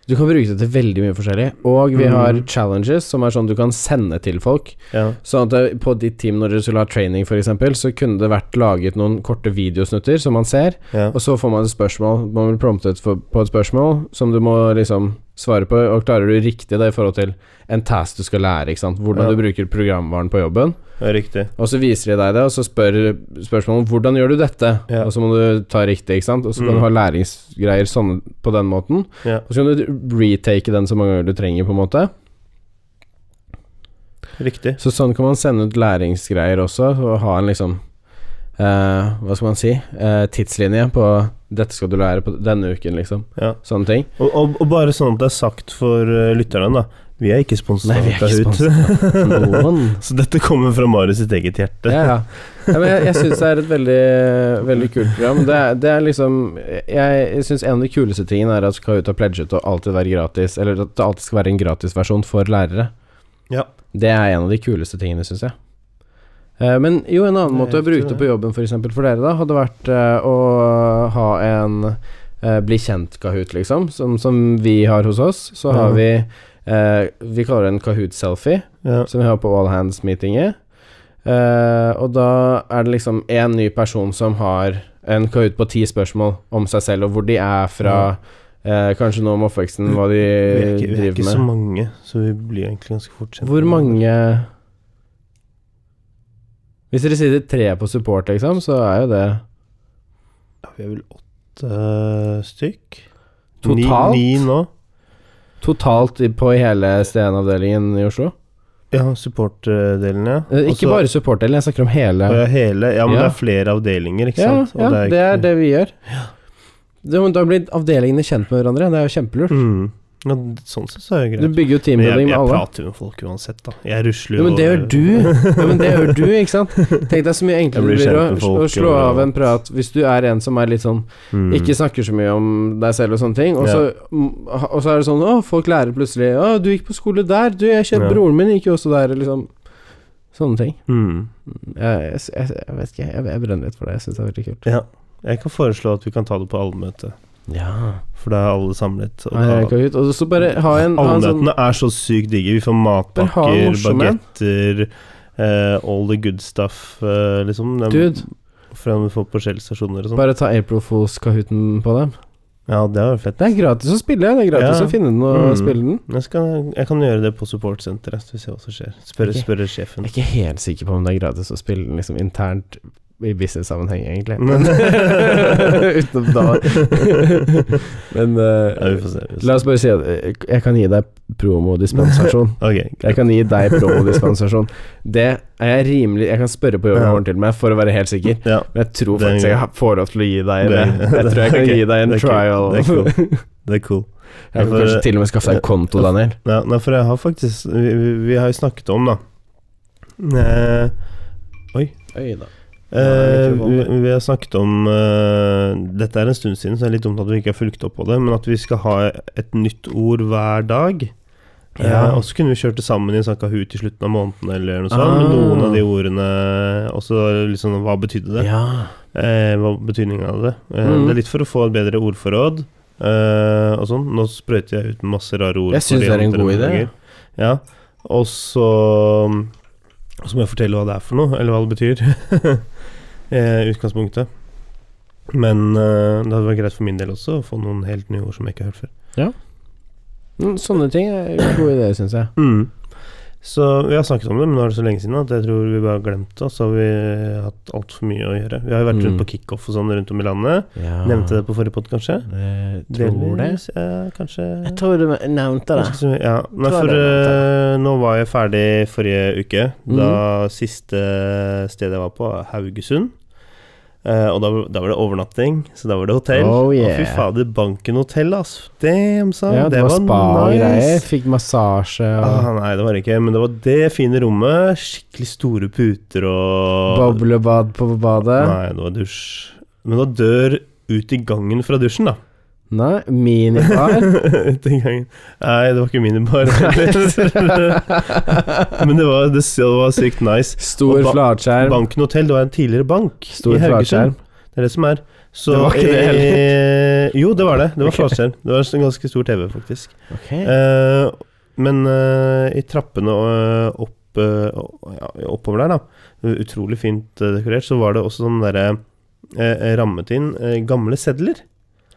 [SPEAKER 2] Du kan bruke det til veldig mye forskjellig. Og vi
[SPEAKER 1] Mm.
[SPEAKER 2] har challenges, som er sånn du kan sende til folk.
[SPEAKER 1] Ja.
[SPEAKER 2] Sånn at det, på ditt team, når dere skulle ha training f.eks., så kunne det vært laget noen korte videosnutter som man ser,
[SPEAKER 1] ja.
[SPEAKER 2] og så får man et spørsmål. Man blir promptet for, på et spørsmål som du må liksom svare på, og klarer du riktig det i forhold til en task du skal lære, ikke sant. Hvordan
[SPEAKER 1] Ja.
[SPEAKER 2] du bruker programvaren på jobben.
[SPEAKER 1] ja riktig.
[SPEAKER 2] Og så viser de deg det, og så spør spørsmålet om hvordan gjør du dette,
[SPEAKER 1] Ja.
[SPEAKER 2] og så må du ta riktig, ikke sant, og så kan
[SPEAKER 1] Mm.
[SPEAKER 2] du ha læringsgreier sånn på den måten,
[SPEAKER 1] Ja.
[SPEAKER 2] og så kan du retake den så mange ganger du trenger, på en måte.
[SPEAKER 1] Riktig.
[SPEAKER 2] Så sånn kan man sende ut læringsgreier også, og ha en liksom eh, Hva skal man si? Eh, tidslinje på 'dette skal du lære på denne uken', liksom.
[SPEAKER 1] Ja.
[SPEAKER 2] Sånne ting.
[SPEAKER 1] Og, og, og bare sånn at det er sagt for eh, lytterne, da. Vi er ikke sponset
[SPEAKER 2] Nei,
[SPEAKER 1] av
[SPEAKER 2] vi er ikke
[SPEAKER 1] Kahoot.
[SPEAKER 2] Noen.
[SPEAKER 1] Så dette kommer fra Marius sitt eget hjerte.
[SPEAKER 2] Ja, ja. ja men jeg, jeg syns det er et veldig, veldig kult program. Det er, det er liksom Jeg, jeg syns en av de kuleste tingene er at Kahoot har pledget å alltid være gratis, eller at det alltid skal være en gratisversjon for lærere.
[SPEAKER 1] Ja.
[SPEAKER 2] Det er en av de kuleste tingene, syns jeg. Eh, Men jo, en annen
[SPEAKER 1] Det er
[SPEAKER 2] måte å
[SPEAKER 1] helt
[SPEAKER 2] bruke
[SPEAKER 1] det.
[SPEAKER 2] det på jobben for, eksempel, for dere, da, hadde vært eh, å ha en eh, bli kjent-Kahoot, liksom, som, som vi har hos oss. Så har
[SPEAKER 1] Ja.
[SPEAKER 2] vi eh, Vi kaller det en Kahoot-selfie
[SPEAKER 1] Ja.
[SPEAKER 2] som vi har på All Hands-meetinget. Eh, og da er det liksom én ny person som har en KUT på ti spørsmål om seg selv, og hvor de er fra, eh, kanskje noe om oppveksten, hva de
[SPEAKER 1] Vi er ikke, vi er
[SPEAKER 2] driver
[SPEAKER 1] ikke så
[SPEAKER 2] med.
[SPEAKER 1] mange, så vi blir egentlig ganske fort kjent.
[SPEAKER 2] Hvor mange Hvis dere sier tre på support, liksom, så er jo det
[SPEAKER 1] Ja, vi er vel åtte eh, stykk.
[SPEAKER 2] Totalt?
[SPEAKER 1] Ni, ni nå.
[SPEAKER 2] totalt i- på hele Stien-avdelingen i Oslo.
[SPEAKER 1] Ja, supportdelen, ja.
[SPEAKER 2] Eh,
[SPEAKER 1] Og
[SPEAKER 2] ikke
[SPEAKER 1] så-
[SPEAKER 2] bare supportdelen, jeg snakker om hele.
[SPEAKER 1] Og ja, hele, ja, men
[SPEAKER 2] Ja.
[SPEAKER 1] det er flere avdelinger, ikke
[SPEAKER 2] Ja,
[SPEAKER 1] sant? Og
[SPEAKER 2] ja,
[SPEAKER 1] er
[SPEAKER 2] det er
[SPEAKER 1] ikke-
[SPEAKER 2] det vi gjør. Det, men da blir avdelingene kjent med hverandre, det er jo kjempelurt.
[SPEAKER 1] Mm. Ja, d- sånn sett så er det
[SPEAKER 2] Du
[SPEAKER 1] greit.
[SPEAKER 2] bygger jo
[SPEAKER 1] Men jeg,
[SPEAKER 2] teambuilding med
[SPEAKER 1] jeg
[SPEAKER 2] alle.
[SPEAKER 1] prater jo med folk uansett, da. Jeg rusler
[SPEAKER 2] Jo, men det gjør
[SPEAKER 1] over-
[SPEAKER 2] du. Jo, men det gjør du, ikke sant. Tenk deg så mye
[SPEAKER 1] Jeg
[SPEAKER 2] enklere
[SPEAKER 1] blir
[SPEAKER 2] det blir å,
[SPEAKER 1] kjent med folk
[SPEAKER 2] å slå
[SPEAKER 1] overalt.
[SPEAKER 2] av en prat hvis du er en som er litt sånn
[SPEAKER 1] Mm.
[SPEAKER 2] Ikke snakker så mye om deg selv og sånne ting, og så, mm, og så er det sånn Å, folk lærer plutselig Å, du gikk på skole der, du, jeg kjent
[SPEAKER 1] Ja.
[SPEAKER 2] broren min gikk jo også der, eller liksom Sånne ting.
[SPEAKER 1] mm.
[SPEAKER 2] Jeg, jeg, jeg, jeg vet ikke, jeg, jeg brenner litt for det. Jeg syns det er veldig kult.
[SPEAKER 1] Ja. Jeg kan foreslå at vi kan ta det på allmøte,
[SPEAKER 2] Ja.
[SPEAKER 1] for da er alle samlet. Og
[SPEAKER 2] Nei, jeg
[SPEAKER 1] da,
[SPEAKER 2] kan ut. Og så bare ha en, ha en sånn
[SPEAKER 1] allmøtene er så sykt digge. Vi får
[SPEAKER 2] Bare ha
[SPEAKER 1] matpakker,
[SPEAKER 2] en morsom en.
[SPEAKER 1] bagetter, eh, all the good stuff, eh, liksom. Dem-
[SPEAKER 2] Dude,
[SPEAKER 1] Fra vi får på Shell-stasjoner og sånn.
[SPEAKER 2] bare ta April Fools-kahooten på dem.
[SPEAKER 1] Ja, det er jo fett.
[SPEAKER 2] Det er gratis å spille, det er gratis
[SPEAKER 1] Ja.
[SPEAKER 2] å finne den og
[SPEAKER 1] Mm.
[SPEAKER 2] spille den.
[SPEAKER 1] Jeg, skal, jeg kan gjøre det på supportsenteret, så vi ser hva som skjer. Spørre
[SPEAKER 2] Ok.
[SPEAKER 1] spørre sjefen.
[SPEAKER 2] Jeg er ikke helt sikker på om det er gratis å spille den liksom internt i business-sammenheng, egentlig. Men,
[SPEAKER 1] Men-
[SPEAKER 2] utenom da. Men eh,
[SPEAKER 1] Ja, vi får se. Vi får se.
[SPEAKER 2] la oss bare si at eh, jeg kan gi deg promodispensasjon.
[SPEAKER 1] Ok,
[SPEAKER 2] Jeg
[SPEAKER 1] greit.
[SPEAKER 2] kan gi deg promodispensasjon. Det er jeg rimelig Jeg kan spørre på jobben i
[SPEAKER 1] Ja.
[SPEAKER 2] morgen til meg for å være helt sikker.
[SPEAKER 1] Ja,
[SPEAKER 2] Men jeg tror
[SPEAKER 1] Det er
[SPEAKER 2] faktisk
[SPEAKER 1] greit.
[SPEAKER 2] jeg har- får lov til å gi deg
[SPEAKER 1] Det
[SPEAKER 2] det.
[SPEAKER 1] er greit.
[SPEAKER 2] Jeg tror jeg kan
[SPEAKER 1] Ok,
[SPEAKER 2] gi deg en
[SPEAKER 1] det er kult.
[SPEAKER 2] trial.
[SPEAKER 1] Det er Det er cool.
[SPEAKER 2] Jeg kan
[SPEAKER 1] for-
[SPEAKER 2] kanskje til og med skaffe deg en konto, Daniel.
[SPEAKER 1] Ja, nei, for jeg har faktisk Vi, vi- vi har jo snakket om, da eh,
[SPEAKER 2] Oi da.
[SPEAKER 1] eh,
[SPEAKER 2] det er
[SPEAKER 1] vi,
[SPEAKER 2] mikrofonen.
[SPEAKER 1] vi har snakket om eh, Dette er en stund siden, så det er litt dumt at vi ikke har fulgt opp på det, men at vi skal ha et nytt ord hver dag.
[SPEAKER 2] Ja.
[SPEAKER 1] Eh, og så kunne vi kjørt det sammen i en sånn kahoot i slutten av måneden, eller noe sånt.
[SPEAKER 2] Ah.
[SPEAKER 1] Med noen av de ordene Og så liksom Hva betydde det?
[SPEAKER 2] Ja.
[SPEAKER 1] Eh, hva var betydningen av det? Eh,
[SPEAKER 2] Mm.
[SPEAKER 1] Det er litt for å få et bedre ordforråd. Eh, og sånn. Nå sprøyter jeg ut masse rare ord.
[SPEAKER 2] Jeg synes det er en god idé, ja.
[SPEAKER 1] Ja. Og så og Så må jeg fortelle hva det er for noe, eller hva det betyr. eh, utgangspunktet. Men eh, det hadde vært greit for min del også å få noen helt nye ord som jeg ikke har hørt før.
[SPEAKER 2] Mm, Sånne ting er gode ideer, syns jeg.
[SPEAKER 1] Mm. Så vi har snakket om det, men nå er det så lenge siden at jeg tror vi bare har glemt det. Og så har vi hatt altfor mye å gjøre. Vi har jo vært rundt
[SPEAKER 2] Mm.
[SPEAKER 1] på kickoff og sånn rundt om i landet.
[SPEAKER 2] Ja.
[SPEAKER 1] Nevnte det på forrige podkast, kanskje?
[SPEAKER 2] Jeg Eh, tror det.
[SPEAKER 1] Delvis, ja, kanskje
[SPEAKER 2] Jeg tror du nevnte det.
[SPEAKER 1] Ganske så mye, Ja.
[SPEAKER 2] Tror
[SPEAKER 1] Nei,
[SPEAKER 2] jeg
[SPEAKER 1] for
[SPEAKER 2] det Mhm. er
[SPEAKER 1] eh, nå var jeg ferdig forrige uke. Da siste stedet jeg var på, var Haugesund. Eh, og da, da var det overnatting, så da var det hotell.
[SPEAKER 2] Oh,
[SPEAKER 1] Og fy
[SPEAKER 2] yeah.
[SPEAKER 1] fader, banken hotell, ass. Damn, sa
[SPEAKER 2] Ja,
[SPEAKER 1] han.
[SPEAKER 2] det var spa og greier. Fikk massasje og
[SPEAKER 1] Ah, nei, det var det ikke, men det var det fine rommet. Skikkelig store puter og
[SPEAKER 2] boblebad på badet.
[SPEAKER 1] Ah. Nei, det var dusj. Men det var dør ut i gangen fra dusjen, da.
[SPEAKER 2] Nei, minibar.
[SPEAKER 1] ut i gangen. Nei, det var ikke minibar. men det var, det, det var sykt nice.
[SPEAKER 2] Stor
[SPEAKER 1] Og ba-
[SPEAKER 2] flatskjerm.
[SPEAKER 1] Banken Hotell, det var en tidligere bank
[SPEAKER 2] Stor
[SPEAKER 1] i Haugesund.
[SPEAKER 2] flatskjerm.
[SPEAKER 1] Det er det som er. Så,
[SPEAKER 2] Det var ikke det
[SPEAKER 1] eh, jo, det var det. Det var flatskjerm. Det var en ganske stor TV, faktisk.
[SPEAKER 2] Ok.
[SPEAKER 1] Eh, men eh, i trappene og, eh, opp, eh, og- ja, oppover der, da, utrolig fint eh, dekorert, så var det også sånn derre eh, rammet inn eh, gamle sedler.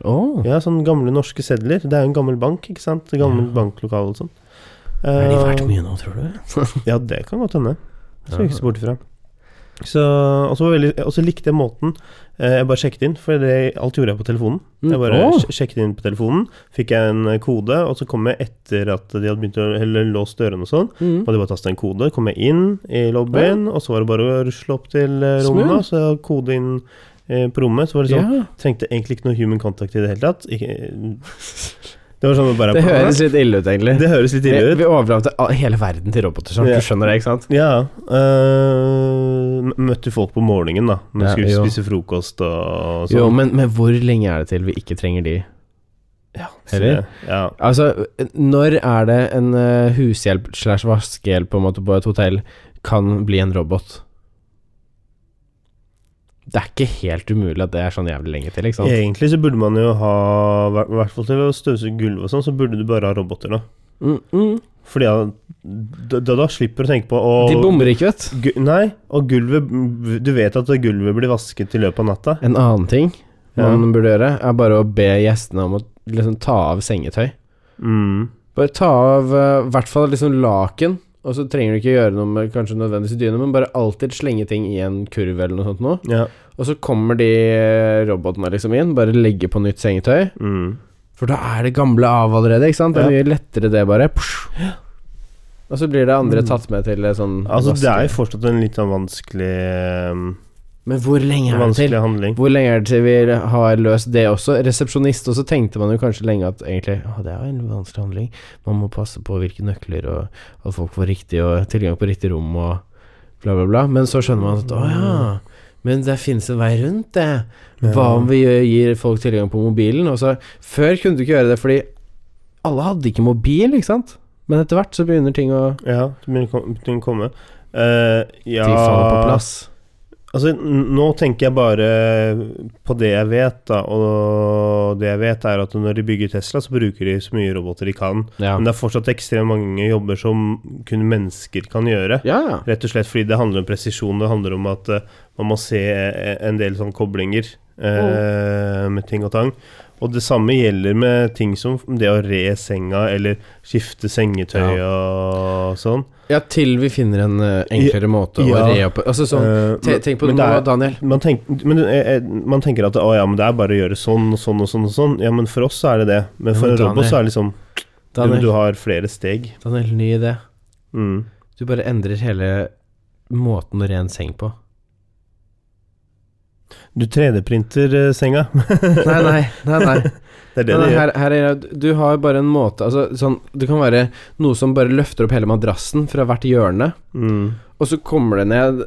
[SPEAKER 2] Åh.
[SPEAKER 1] Ja, sånn gamle norske sedler. Det er jo en gammel bank, ikke sant? Gammel
[SPEAKER 2] Ja.
[SPEAKER 1] banklokale og sånn.
[SPEAKER 2] Er de
[SPEAKER 1] Eh,
[SPEAKER 2] verdt mye nå, tror du?
[SPEAKER 1] Ja, det kan godt hende. Det skal jeg ikke se
[SPEAKER 2] Ja.
[SPEAKER 1] bort ifra. Så, og så var veldig- og så likte jeg måten eh, jeg bare sjekket inn, for det, alt gjorde jeg på telefonen. Jeg bare
[SPEAKER 2] Mm. Åh.
[SPEAKER 1] sj- sjekket inn på telefonen, fikk jeg en eh, kode, og så kom jeg etter at de hadde begynt å eller, låst dørene og sånn.
[SPEAKER 2] Mm.
[SPEAKER 1] Hadde jeg bare tastet en kode, kom jeg inn i lobbyen, og så var det bare å rusle opp til eh, rommet,
[SPEAKER 2] Smooth.
[SPEAKER 1] og så kode inn eh, på rommet. Så var det sånn
[SPEAKER 2] Ja.
[SPEAKER 1] Trengte egentlig ikke noe human contact i det hele tatt. Ikke, det var sånn at bare
[SPEAKER 2] Det høres litt ille ut, egentlig.
[SPEAKER 1] Det høres litt
[SPEAKER 2] Vi,
[SPEAKER 1] ille ut.
[SPEAKER 2] vi overlater all- hele verden til roboter, sånn.
[SPEAKER 1] Ja.
[SPEAKER 2] Du skjønner det, ikke sant?
[SPEAKER 1] Ja. øh, m- møtte folk på morgenen, da. Når vi
[SPEAKER 2] Ja,
[SPEAKER 1] skulle
[SPEAKER 2] jo.
[SPEAKER 1] spise frokost og sånn.
[SPEAKER 2] Jo, men, men hvor lenge er det til vi ikke trenger de?
[SPEAKER 1] ja, så
[SPEAKER 2] Eller?
[SPEAKER 1] det- Ja.
[SPEAKER 2] Altså, når er det en eh, hushjelp slash vaskehjelp på en måte på et hotell kan bli en robot? Det er ikke helt umulig at det er sånn jævlig lenge til, ikke sant?
[SPEAKER 1] Egentlig så burde man jo ha I hvert fall til å støvsuge gulvet og sånn, så burde du bare ha roboter nå.
[SPEAKER 2] Mm, mm.
[SPEAKER 1] Fordi ja, da, da, da slipper du å tenke på å
[SPEAKER 2] De bommer ikke, vet du.
[SPEAKER 1] gu- Nei, og gulvet Du vet at gulvet blir vasket i løpet av natta.
[SPEAKER 2] En annen ting
[SPEAKER 1] Ja.
[SPEAKER 2] man burde gjøre, er bare å be gjestene om å liksom ta av sengetøy.
[SPEAKER 1] Mm.
[SPEAKER 2] Bare ta av eh, i hvert fall liksom laken, og så trenger du ikke gjøre noe med kanskje nødvendigvis dyne, men bare alltid slenge ting i en kurv eller noe sånt nå.
[SPEAKER 1] Ja.
[SPEAKER 2] Og så kommer de eh, robotene liksom inn, bare legger på nytt sengetøy.
[SPEAKER 1] Mm.
[SPEAKER 2] For da er det gamle av allerede, ikke sant? Det er mye lettere det, bare. Psh. Og så blir det andre
[SPEAKER 1] Mm.
[SPEAKER 2] tatt med til eh, sånn
[SPEAKER 1] Altså, det er
[SPEAKER 2] vaske.
[SPEAKER 1] jo fortsatt en litt sånn vanskelig,
[SPEAKER 2] Men hvor lenge
[SPEAKER 1] øh,
[SPEAKER 2] er det til?
[SPEAKER 1] vanskelig handling.
[SPEAKER 2] Hvor lenge er det til vi har løst det også? Resepsjonist, og så tenkte man jo kanskje lenge at egentlig Å, det er jo en vanskelig handling. Man må passe på hvilke nøkler, og at folk får riktig og tilgang på riktig rom, og bla, bla, bla. Men så skjønner man at å ja, men det finnes en vei rundt det. Hva om vi gjør- gir folk tilgang på mobilen? Og så, før kunne du ikke gjøre det fordi alle hadde ikke mobil, ikke sant? Men etter hvert så begynner ting å
[SPEAKER 1] Ja, det begynner å kom- begynner å komme. Eh, ja
[SPEAKER 2] ting faller på plass.
[SPEAKER 1] Altså, n- nå tenker jeg bare på det jeg vet, da. Og det jeg vet, er at når de bygger Tesla, så bruker de så mye roboter de kan.
[SPEAKER 2] Ja.
[SPEAKER 1] Men det er fortsatt ekstremt mange jobber som kun mennesker kan gjøre.
[SPEAKER 2] ja, ja.
[SPEAKER 1] Rett og slett fordi det handler om presisjon. Det handler om at eh, man må se eh, en del sånne koblinger eh,
[SPEAKER 2] Mm.
[SPEAKER 1] med ting og tang. Og det samme gjelder med ting som det å re senga, eller skifte sengetøy og sånn.
[SPEAKER 2] Ja, til vi finner en eh, enklere måte
[SPEAKER 1] ja.
[SPEAKER 2] å re opp Altså sånn
[SPEAKER 1] Eh,
[SPEAKER 2] te-
[SPEAKER 1] men-
[SPEAKER 2] Tenk på det
[SPEAKER 1] men
[SPEAKER 2] nå,
[SPEAKER 1] er-
[SPEAKER 2] Daniel.
[SPEAKER 1] man, tenk, men, eh, eh, man tenker at å, ja, men det er bare å gjøre sånn og sånn og sånn. og sånn Ja, men for oss så er det det. Men
[SPEAKER 2] Ja,
[SPEAKER 1] for
[SPEAKER 2] men
[SPEAKER 1] en robot
[SPEAKER 2] Daniel-
[SPEAKER 1] så er det liksom du,
[SPEAKER 2] Daniel,
[SPEAKER 1] du har flere steg.
[SPEAKER 2] Daniel, ny idé.
[SPEAKER 1] Mm.
[SPEAKER 2] Du bare endrer hele måten å re en seng på.
[SPEAKER 1] Du 3D-printer eh, senga.
[SPEAKER 2] Nei, nei, nei. nei.
[SPEAKER 1] Det er det
[SPEAKER 2] Nei,
[SPEAKER 1] det
[SPEAKER 2] nei,
[SPEAKER 1] gjør.
[SPEAKER 2] her, her er, det- du har bare en måte altså, sånn, Det kan være noe som bare løfter opp hele madrassen fra hvert hjørne,
[SPEAKER 1] Mm.
[SPEAKER 2] og så kommer det ned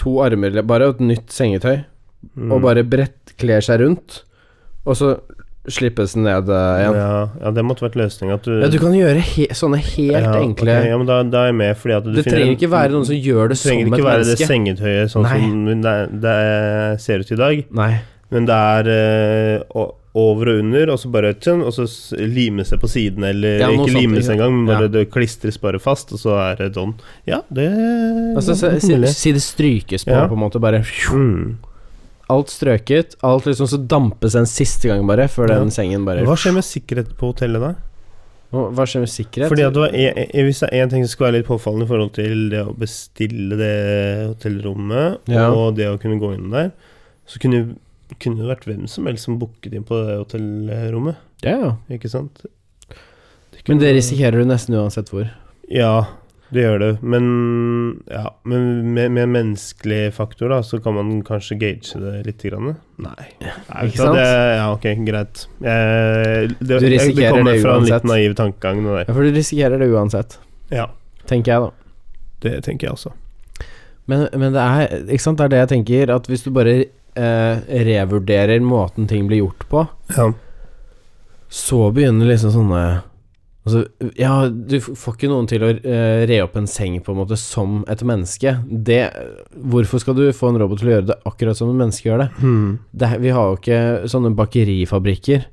[SPEAKER 2] to armer bare og et nytt sengetøy,
[SPEAKER 1] Mm.
[SPEAKER 2] og bare brettkler seg rundt, og så slippes den ned eh, igjen.
[SPEAKER 1] ja, ja, det måtte vært løsninga. At du,
[SPEAKER 2] Ja, du kan gjøre he sånne helt
[SPEAKER 1] Ja,
[SPEAKER 2] enkle
[SPEAKER 1] ok, ja, men da, da er jeg med, fordi at du
[SPEAKER 2] Det
[SPEAKER 1] finner-
[SPEAKER 2] trenger ikke være noen som gjør det
[SPEAKER 1] det
[SPEAKER 2] som et
[SPEAKER 1] trenger ikke være det
[SPEAKER 2] menneske.
[SPEAKER 1] sengetøyet sånn
[SPEAKER 2] Nei.
[SPEAKER 1] som det, det ser ut i dag,
[SPEAKER 2] Nei.
[SPEAKER 1] men det er eh, o- over og under, og så bare tjønn, og så s- lime seg på siden, eller
[SPEAKER 2] Ja, noe
[SPEAKER 1] ikke
[SPEAKER 2] sånt,
[SPEAKER 1] lime
[SPEAKER 2] ikke
[SPEAKER 1] seg engang, men
[SPEAKER 2] Ja.
[SPEAKER 1] bare det klistres bare fast, og så er det sånn. Ja, det
[SPEAKER 2] Altså,
[SPEAKER 1] det er
[SPEAKER 2] si,
[SPEAKER 1] mulig.
[SPEAKER 2] si det strykes på,
[SPEAKER 1] Ja.
[SPEAKER 2] på en måte. Bare
[SPEAKER 1] Mm.
[SPEAKER 2] alt strøket. Alt liksom så dampes en siste gang, bare, før
[SPEAKER 1] Ja.
[SPEAKER 2] den sengen bare
[SPEAKER 1] Hva skjer med sikkerhet på hotellet da?
[SPEAKER 2] Å, Hva skjer med sikkerhet?
[SPEAKER 1] Fordi at det var en, en, Hvis det er én ting som skulle være litt påfallende i forhold til det å bestille det hotellrommet
[SPEAKER 2] Ja.
[SPEAKER 1] og det å kunne gå inn der, så kunne, kunne det vært hvem som helst som booket inn på det hotellrommet,
[SPEAKER 2] Ja, ja.
[SPEAKER 1] ikke sant? Det
[SPEAKER 2] Men det
[SPEAKER 1] kunne-
[SPEAKER 2] risikerer du nesten uansett hvor.
[SPEAKER 1] Ja, det gjør det. Men, ja, men med, med menneskelig faktor, da, så kan man kanskje gage det litt. Grann. Nei. Nei,
[SPEAKER 2] Ikke
[SPEAKER 1] vet du hva,
[SPEAKER 2] sant?
[SPEAKER 1] Det, ja, ok, greit. Eh, det,
[SPEAKER 2] Du
[SPEAKER 1] jeg-
[SPEAKER 2] risikerer
[SPEAKER 1] det
[SPEAKER 2] det
[SPEAKER 1] kommer fra en
[SPEAKER 2] uansett.
[SPEAKER 1] litt naiv tankegang. Det,
[SPEAKER 2] Ja, for du risikerer det uansett,
[SPEAKER 1] der. Ja,
[SPEAKER 2] tenker jeg, da.
[SPEAKER 1] det tenker jeg også.
[SPEAKER 2] Men, men det er Ikke sant, det er det jeg tenker, at hvis du bare eh, revurderer måten ting blir gjort på,
[SPEAKER 1] Ja.
[SPEAKER 2] så begynner liksom sånne Altså, ja, du f- får ikke noen til å eh, re opp en seng på en måte som et menneske. Det Hvorfor skal du få en robot til å gjøre det akkurat som et menneske gjør det?
[SPEAKER 1] Hmm.
[SPEAKER 2] det er- vi har jo ikke sånne bakerifabrikker.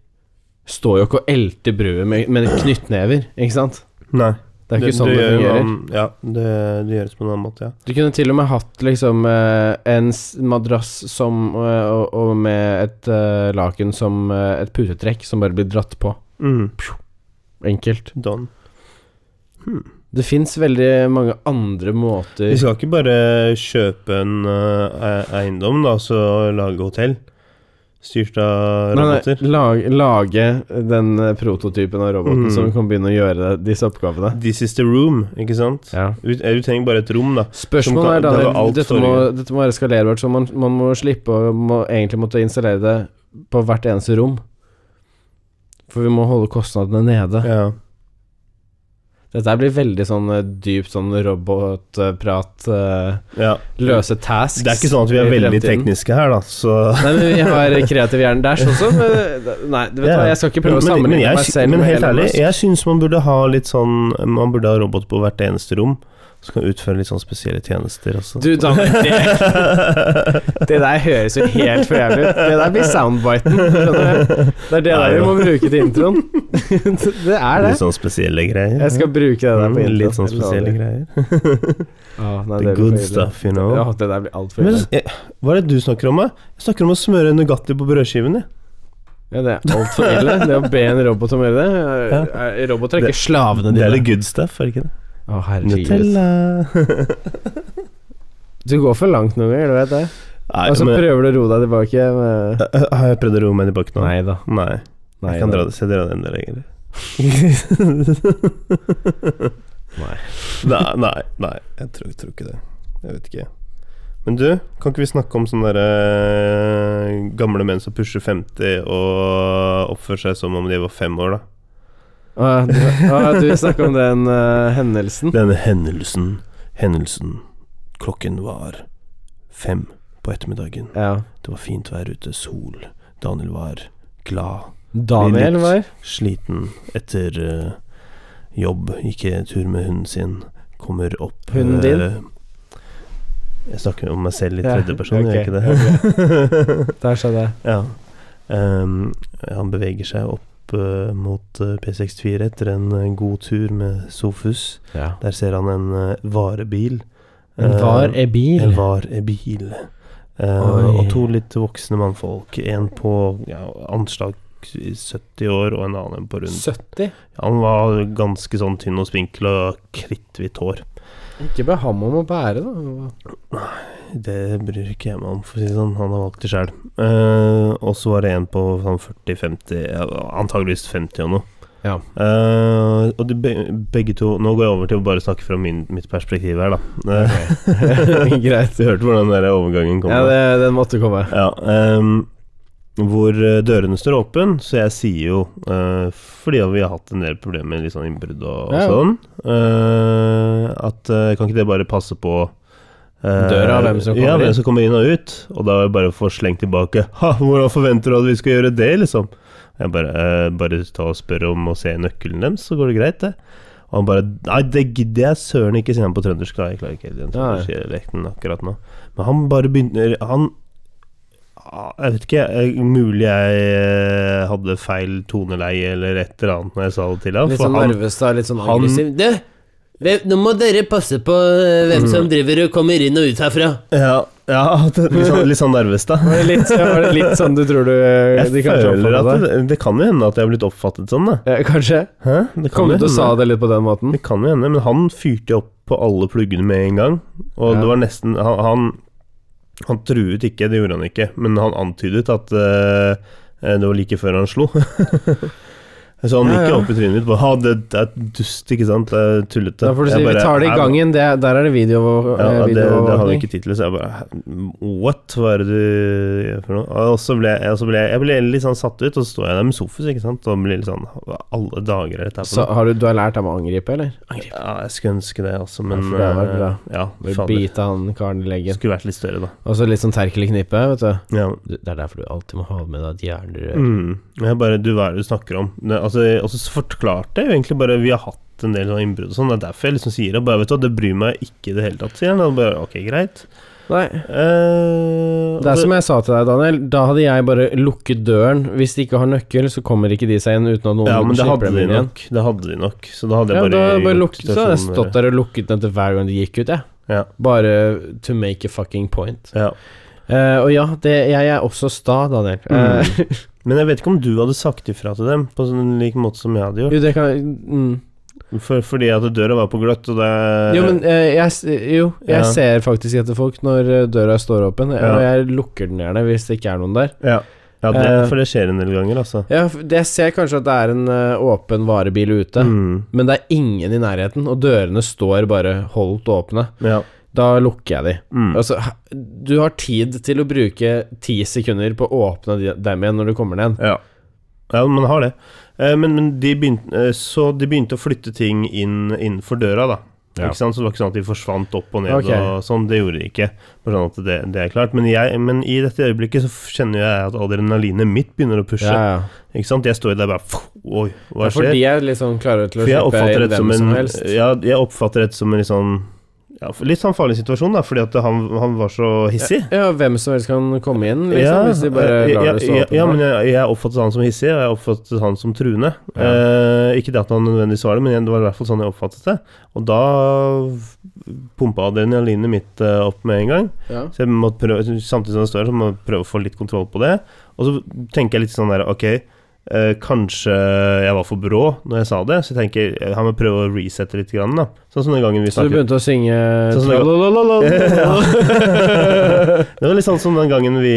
[SPEAKER 2] Står jo ikke og elter brødet med, med knyttnever, ikke sant?
[SPEAKER 1] Nei.
[SPEAKER 2] Det er jo ikke sånn det,
[SPEAKER 1] gjør jo
[SPEAKER 2] fungerer.
[SPEAKER 1] an- Ja, det, det gjøres på en annen måte, ja.
[SPEAKER 2] Du kunne til og med hatt liksom eh, en s- madrass som eh, og, og med et eh, laken som eh, et putetrekk som bare blir dratt på.
[SPEAKER 1] Mm.
[SPEAKER 2] Enkelt.
[SPEAKER 1] Done.
[SPEAKER 2] Det fins veldig mange andre måter
[SPEAKER 1] Vi skal ikke bare kjøpe en eh, e- eiendom, da, altså, og så lage hotell. Styrt av
[SPEAKER 2] Nei, nei,
[SPEAKER 1] roboter.
[SPEAKER 2] eh, lag, lage den eh, prototypen av roboten
[SPEAKER 1] Mm.
[SPEAKER 2] som kan begynne å gjøre disse oppgavene.
[SPEAKER 1] This is the room, ikke sant?
[SPEAKER 2] Ja.
[SPEAKER 1] Du, du trenger bare et rom, da. Som
[SPEAKER 2] Spørsmålet
[SPEAKER 1] kan-
[SPEAKER 2] er,
[SPEAKER 1] det er jo
[SPEAKER 2] Daniel,
[SPEAKER 1] alt
[SPEAKER 2] dette
[SPEAKER 1] for-
[SPEAKER 2] må, dette må være skalerbart, så man, man må slippe å må egentlig måtte installere det på hvert eneste rom. For vi må holde kostnadene nede.
[SPEAKER 1] Ja.
[SPEAKER 2] Dette her blir veldig sånn eh, dypt sånn robotprat, eh,
[SPEAKER 1] ja.
[SPEAKER 2] løse tasks.
[SPEAKER 1] Det er ikke sånn at vi er
[SPEAKER 2] i
[SPEAKER 1] veldig
[SPEAKER 2] fremtiden.
[SPEAKER 1] tekniske her, da, så
[SPEAKER 2] Nei, men vi har kreativ hjerne der sånn som eh, Nei, du vet
[SPEAKER 1] Ja.
[SPEAKER 2] hva, jeg skal ikke
[SPEAKER 1] men,
[SPEAKER 2] prøve å
[SPEAKER 1] men, men,
[SPEAKER 2] sammenligne
[SPEAKER 1] jeg,
[SPEAKER 2] meg
[SPEAKER 1] sy-
[SPEAKER 2] selv
[SPEAKER 1] men
[SPEAKER 2] med
[SPEAKER 1] helt
[SPEAKER 2] Elon
[SPEAKER 1] ærlig,
[SPEAKER 2] Musk.
[SPEAKER 1] jeg syns man burde ha litt sånn Man burde ha robot på hvert eneste rom, som kan utføre litt sånn spesielle tjenester altså. også.
[SPEAKER 2] Du, Daniel, det, det der høres jo helt for jævlig ut. Det der blir soundbiten. skjønner du? Det er det der vi må bruke til introen. Det er det.
[SPEAKER 1] Litt sånn spesielle greier.
[SPEAKER 2] Jeg skal bruke det der på
[SPEAKER 1] Mm,
[SPEAKER 2] introen.
[SPEAKER 1] Litt sånn spesielle greier.
[SPEAKER 2] Ah, nei, det
[SPEAKER 1] The
[SPEAKER 2] blir for
[SPEAKER 1] good
[SPEAKER 2] ille.
[SPEAKER 1] stuff, you
[SPEAKER 2] Ja,
[SPEAKER 1] know.
[SPEAKER 2] det der blir altfor
[SPEAKER 1] Men,
[SPEAKER 2] ille.
[SPEAKER 1] eh, hva er det du snakker om, da? Jeg snakker om å smøre Nugatti på brødskivene.
[SPEAKER 2] Ja, det er altfor ille. Det å be en robot om å gjøre det
[SPEAKER 1] Ja.
[SPEAKER 2] eh, eh, Roboter er ikke slavene
[SPEAKER 1] Det er det
[SPEAKER 2] dine.
[SPEAKER 1] good stuff, er det ikke det?
[SPEAKER 2] Å, herregud.
[SPEAKER 1] Nutella.
[SPEAKER 2] Du går for langt noen ganger, du vet det.
[SPEAKER 1] Nei,
[SPEAKER 2] Og så
[SPEAKER 1] men,
[SPEAKER 2] prøver du å roe deg tilbake. Med...
[SPEAKER 1] Ø, ø, Eh, har jeg prøvd å roe meg tilbake nå?
[SPEAKER 2] Nei da.
[SPEAKER 1] Nei.
[SPEAKER 2] Nei,
[SPEAKER 1] jeg kan
[SPEAKER 2] da.
[SPEAKER 1] dra, se dere den der lenger.
[SPEAKER 2] Nei.
[SPEAKER 1] nei, nei, nei. Jeg tror, tror ikke det. Jeg vet ikke. Men du, kan ikke vi snakke om sånne derre gamle menn som pusher 50 og oppfører seg som om de var fem år, da?
[SPEAKER 2] Å, du, å, du snakker om den eh, hendelsen.
[SPEAKER 1] Denne hendelsen Hendelsen Klokken var fem på ettermiddagen.
[SPEAKER 2] Ja.
[SPEAKER 1] Det var fint vær ute, sol. Daniel var glad.
[SPEAKER 2] Daniel
[SPEAKER 1] Litt-
[SPEAKER 2] var
[SPEAKER 1] Sliten etter eh, jobb, gikk i tur med hunden sin, kommer opp
[SPEAKER 2] Hunden din?
[SPEAKER 1] eh, Jeg snakker om meg selv i
[SPEAKER 2] Ja,
[SPEAKER 1] tredjeperson,
[SPEAKER 2] ok,
[SPEAKER 1] gjør jeg ikke det?
[SPEAKER 2] Der sa det.
[SPEAKER 1] ja. Ehm, han beveger seg opp eh, mot eh, P64 etter en eh, god tur med Sofus.
[SPEAKER 2] Ja.
[SPEAKER 1] Der ser han en eh, varebil.
[SPEAKER 2] En
[SPEAKER 1] Eh,
[SPEAKER 2] var er bil.
[SPEAKER 1] en var en bil. Eh,
[SPEAKER 2] Oi.
[SPEAKER 1] og to litt voksne mannfolk. En på ja, anslag 70 år, og en annen på rundt
[SPEAKER 2] 70?
[SPEAKER 1] Han var ganske sånn tynn og spinkel og kritthvitt hår.
[SPEAKER 2] Ikke be ham om å bære, da.
[SPEAKER 1] Det bryr ikke jeg meg om, for å si det sånn. Han har valgt det sjøl. Eh, og så var det en på sånn 40-50, ja, antageligvis 50 og noe.
[SPEAKER 2] Ja.
[SPEAKER 1] Eh, og de be begge to Nå går jeg over til å bare snakke fra min, mitt perspektiv her, da. Eh,
[SPEAKER 2] Greit.
[SPEAKER 1] du hørte hvordan den der overgangen kom?
[SPEAKER 2] Ja,
[SPEAKER 1] da.
[SPEAKER 2] det, den måtte komme.
[SPEAKER 1] Ja, ehm, hvor eh, dørene står åpne, så jeg sier jo eh, Fordi vi har hatt en del problemer med litt sånn innbrudd og, og
[SPEAKER 2] Ja.
[SPEAKER 1] sånn eh, At eh, kan ikke dere bare passe på eh,
[SPEAKER 2] Døra, hvem som
[SPEAKER 1] ja,
[SPEAKER 2] kommer inn?
[SPEAKER 1] hvem som kommer inn og ut? Og da er det bare å få slengt tilbake Ha, hvordan forventer du at vi skal gjøre det, liksom? Jeg bare, eh, bare ta og spør om å se nøkkelen deres, så går det greit, det. Og han bare Nei, det gidder jeg søren ikke, siden han på trøndersk. da. Jeg klarer ikke helt den
[SPEAKER 2] Nei.
[SPEAKER 1] trønderdialekten akkurat nå. Men han bare begynner Han Ah, Jeg vet ikke, jeg- mulig jeg eh, hadde feil toneleie eller et eller annet når jeg sa det til ham.
[SPEAKER 2] Litt
[SPEAKER 1] For
[SPEAKER 2] sånn
[SPEAKER 1] han,
[SPEAKER 2] Narvestad, litt sånn
[SPEAKER 1] han-
[SPEAKER 2] aggressiv. Du, hvem- nå må dere passe på eh,
[SPEAKER 1] Mm.
[SPEAKER 2] hvem som driver og kommer inn og ut herfra.
[SPEAKER 1] ja, ja, det- litt sånn, litt sånn nervøs, da.
[SPEAKER 2] Var det litt, var det litt sånn du tror du
[SPEAKER 1] Jeg
[SPEAKER 2] de kanskje
[SPEAKER 1] føler
[SPEAKER 2] oppfattet
[SPEAKER 1] at
[SPEAKER 2] det?
[SPEAKER 1] det, det kan jo hende at jeg har blitt oppfattet sånn, da.
[SPEAKER 2] Eh, Kanskje?
[SPEAKER 1] Hæ? Det kan
[SPEAKER 2] Kom
[SPEAKER 1] jo
[SPEAKER 2] ut og sa
[SPEAKER 1] hende.
[SPEAKER 2] det litt på den måten?
[SPEAKER 1] Det kan jo hende, men han fyrte jo opp på alle pluggene med en gang. Og
[SPEAKER 2] Ja.
[SPEAKER 1] det var nesten han, han han truet ikke, det gjorde han ikke, men han antydet at eh, eh, det var like før han slo. Så han
[SPEAKER 2] Ja,
[SPEAKER 1] gikk jo
[SPEAKER 2] ja.
[SPEAKER 1] opp i trynet mitt på Ha, det, det er dust, ikke sant? Det er tullete.
[SPEAKER 2] Da får du
[SPEAKER 1] Jeg
[SPEAKER 2] si vi
[SPEAKER 1] bare,
[SPEAKER 2] tar det i
[SPEAKER 1] «Hæ?»
[SPEAKER 2] gangen. Det, er- der er det video,
[SPEAKER 1] Ja,
[SPEAKER 2] eh,
[SPEAKER 1] det, det har vi
[SPEAKER 2] videoovervåkning.
[SPEAKER 1] ikke tid til, så jeg bare «Hæ? What? Hva er det du gjør for noe? Og så ble jeg, og så ble jeg, jeg ble litt sånn satt ut, og så står jeg der med Sofus, ikke sant, og blir litt sånn Hva alle dager er dette her for
[SPEAKER 2] Så
[SPEAKER 1] noe?
[SPEAKER 2] har du, du har lært ham å angripe, eller?
[SPEAKER 1] Ja, jeg skulle ønske det, altså, men
[SPEAKER 2] for det hadde vært bra.
[SPEAKER 1] eh, Ja,
[SPEAKER 2] Bare
[SPEAKER 1] fader.
[SPEAKER 2] bite han karen i leggen.
[SPEAKER 1] Skulle vært litt større, da.
[SPEAKER 2] Og så litt sånn terkelknippe, vet du.
[SPEAKER 1] Ja.
[SPEAKER 2] Du, Det er derfor du alltid må ha med deg et jernrør.
[SPEAKER 1] Mm. Jeg bare Du, hva er det du snakker om? Ne, altså, og så forklarte jeg jo egentlig bare Vi har hatt en del sånne innbrudd og sånn, det er derfor jeg liksom sier det. Bare, vet du, hva, det bryr meg ikke i det hele tatt, sier han. Og bare ok, greit.
[SPEAKER 2] Nei.
[SPEAKER 1] Eh,
[SPEAKER 2] Det er som jeg sa til deg, Daniel. Da hadde jeg bare lukket døren. Hvis de ikke har nøkkel, så kommer ikke de seg inn uten at noen
[SPEAKER 1] ja, men det
[SPEAKER 2] slipper
[SPEAKER 1] hadde
[SPEAKER 2] dem
[SPEAKER 1] de
[SPEAKER 2] inn igjen.
[SPEAKER 1] nok. Det hadde de nok. Så da
[SPEAKER 2] Ja,
[SPEAKER 1] hadde jeg
[SPEAKER 2] da
[SPEAKER 1] bare,
[SPEAKER 2] hadde jeg bare
[SPEAKER 1] gjort
[SPEAKER 2] lukket, så hadde jeg
[SPEAKER 1] situasjonen
[SPEAKER 2] stått der og lukket den til hver gang de gikk ut, jeg.
[SPEAKER 1] Ja.
[SPEAKER 2] Bare to make a fucking point.
[SPEAKER 1] bare- sånn, Ja.
[SPEAKER 2] Eh, og ja, det, jeg er også sta, Daniel. Eh,
[SPEAKER 1] Mm. Men jeg vet ikke om du hadde sagt ifra til dem på sånn lik måte som jeg hadde gjort.
[SPEAKER 2] jo, det kan mm.
[SPEAKER 1] For, fordi at døra var på gløtt, og det
[SPEAKER 2] Jo, men eh, jeg, s- jo, jeg
[SPEAKER 1] Ja.
[SPEAKER 2] ser faktisk etter folk når eh, døra står åpen,
[SPEAKER 1] Ja.
[SPEAKER 2] og jeg lukker den gjerne hvis det ikke er noen der.
[SPEAKER 1] Ja, ja det,
[SPEAKER 2] Eh,
[SPEAKER 1] for det skjer en del ganger, altså.
[SPEAKER 2] Ja, f- det- jeg ser kanskje at det er en eh, åpen varebil ute,
[SPEAKER 1] Mm.
[SPEAKER 2] men det er ingen i nærheten, og dørene står bare holdt åpne.
[SPEAKER 1] Ja.
[SPEAKER 2] Da lukker jeg de.
[SPEAKER 1] Mm.
[SPEAKER 2] Altså, h- du har tid til å bruke ti sekunder på å åpne de- dem igjen når du kommer ned.
[SPEAKER 1] Ja, ja man har det. Eh, Men, men de begynte, eh, så de begynte å flytte ting inn innenfor døra, da.
[SPEAKER 2] Ja.
[SPEAKER 1] Ikke sant? Så det var ikke sånn at de forsvant opp og ned
[SPEAKER 2] Ok.
[SPEAKER 1] og sånn. Det gjorde de ikke. Bare sånn at det, det er klart. Men, jeg, men i dette øyeblikket så f- kjenner jeg at adrenalinet mitt begynner å pushe.
[SPEAKER 2] Ja, ja.
[SPEAKER 1] Ikke sant? Jeg står der bare «Fuh, Oi, hva
[SPEAKER 2] Ja, for
[SPEAKER 1] skjer?
[SPEAKER 2] de er liksom klare til å
[SPEAKER 1] For jeg
[SPEAKER 2] slippe
[SPEAKER 1] oppfatter
[SPEAKER 2] inn
[SPEAKER 1] dette som
[SPEAKER 2] hvem
[SPEAKER 1] en
[SPEAKER 2] som helst.
[SPEAKER 1] ja, Jeg oppfatter dette som en litt sånn ja, Litt sånn farlig situasjon, da, fordi at han, han var så hissig.
[SPEAKER 2] Ja, hvem som helst kan komme inn, liksom, hvis de bare
[SPEAKER 1] eh,
[SPEAKER 2] lar
[SPEAKER 1] ja,
[SPEAKER 2] det stå
[SPEAKER 1] ja,
[SPEAKER 2] åpent.
[SPEAKER 1] ja, men jeg, jeg oppfattet han som hissig, og jeg oppfattet han som truende.
[SPEAKER 2] Ja.
[SPEAKER 1] Eh, ikke det at han nødvendigvis var det, men det var i hvert fall sånn jeg oppfattet det. Og da pumpa adrenalinet mitt eh, opp med en gang.
[SPEAKER 2] Ja.
[SPEAKER 1] Så jeg måtte prøve, samtidig som jeg står her, så må jeg prøve å få litt kontroll på det. Og så tenker jeg litt sånn der Ok, eh, kanskje jeg var for brå når jeg sa det, så jeg tenker eh, han må prøve å resette litt. Grann, da. Sånn som den gangen vi
[SPEAKER 2] Så du
[SPEAKER 1] snakket
[SPEAKER 2] begynte å synge
[SPEAKER 1] Sånn som det går.
[SPEAKER 2] Tralalalala.
[SPEAKER 1] Det var litt sånn som den gangen vi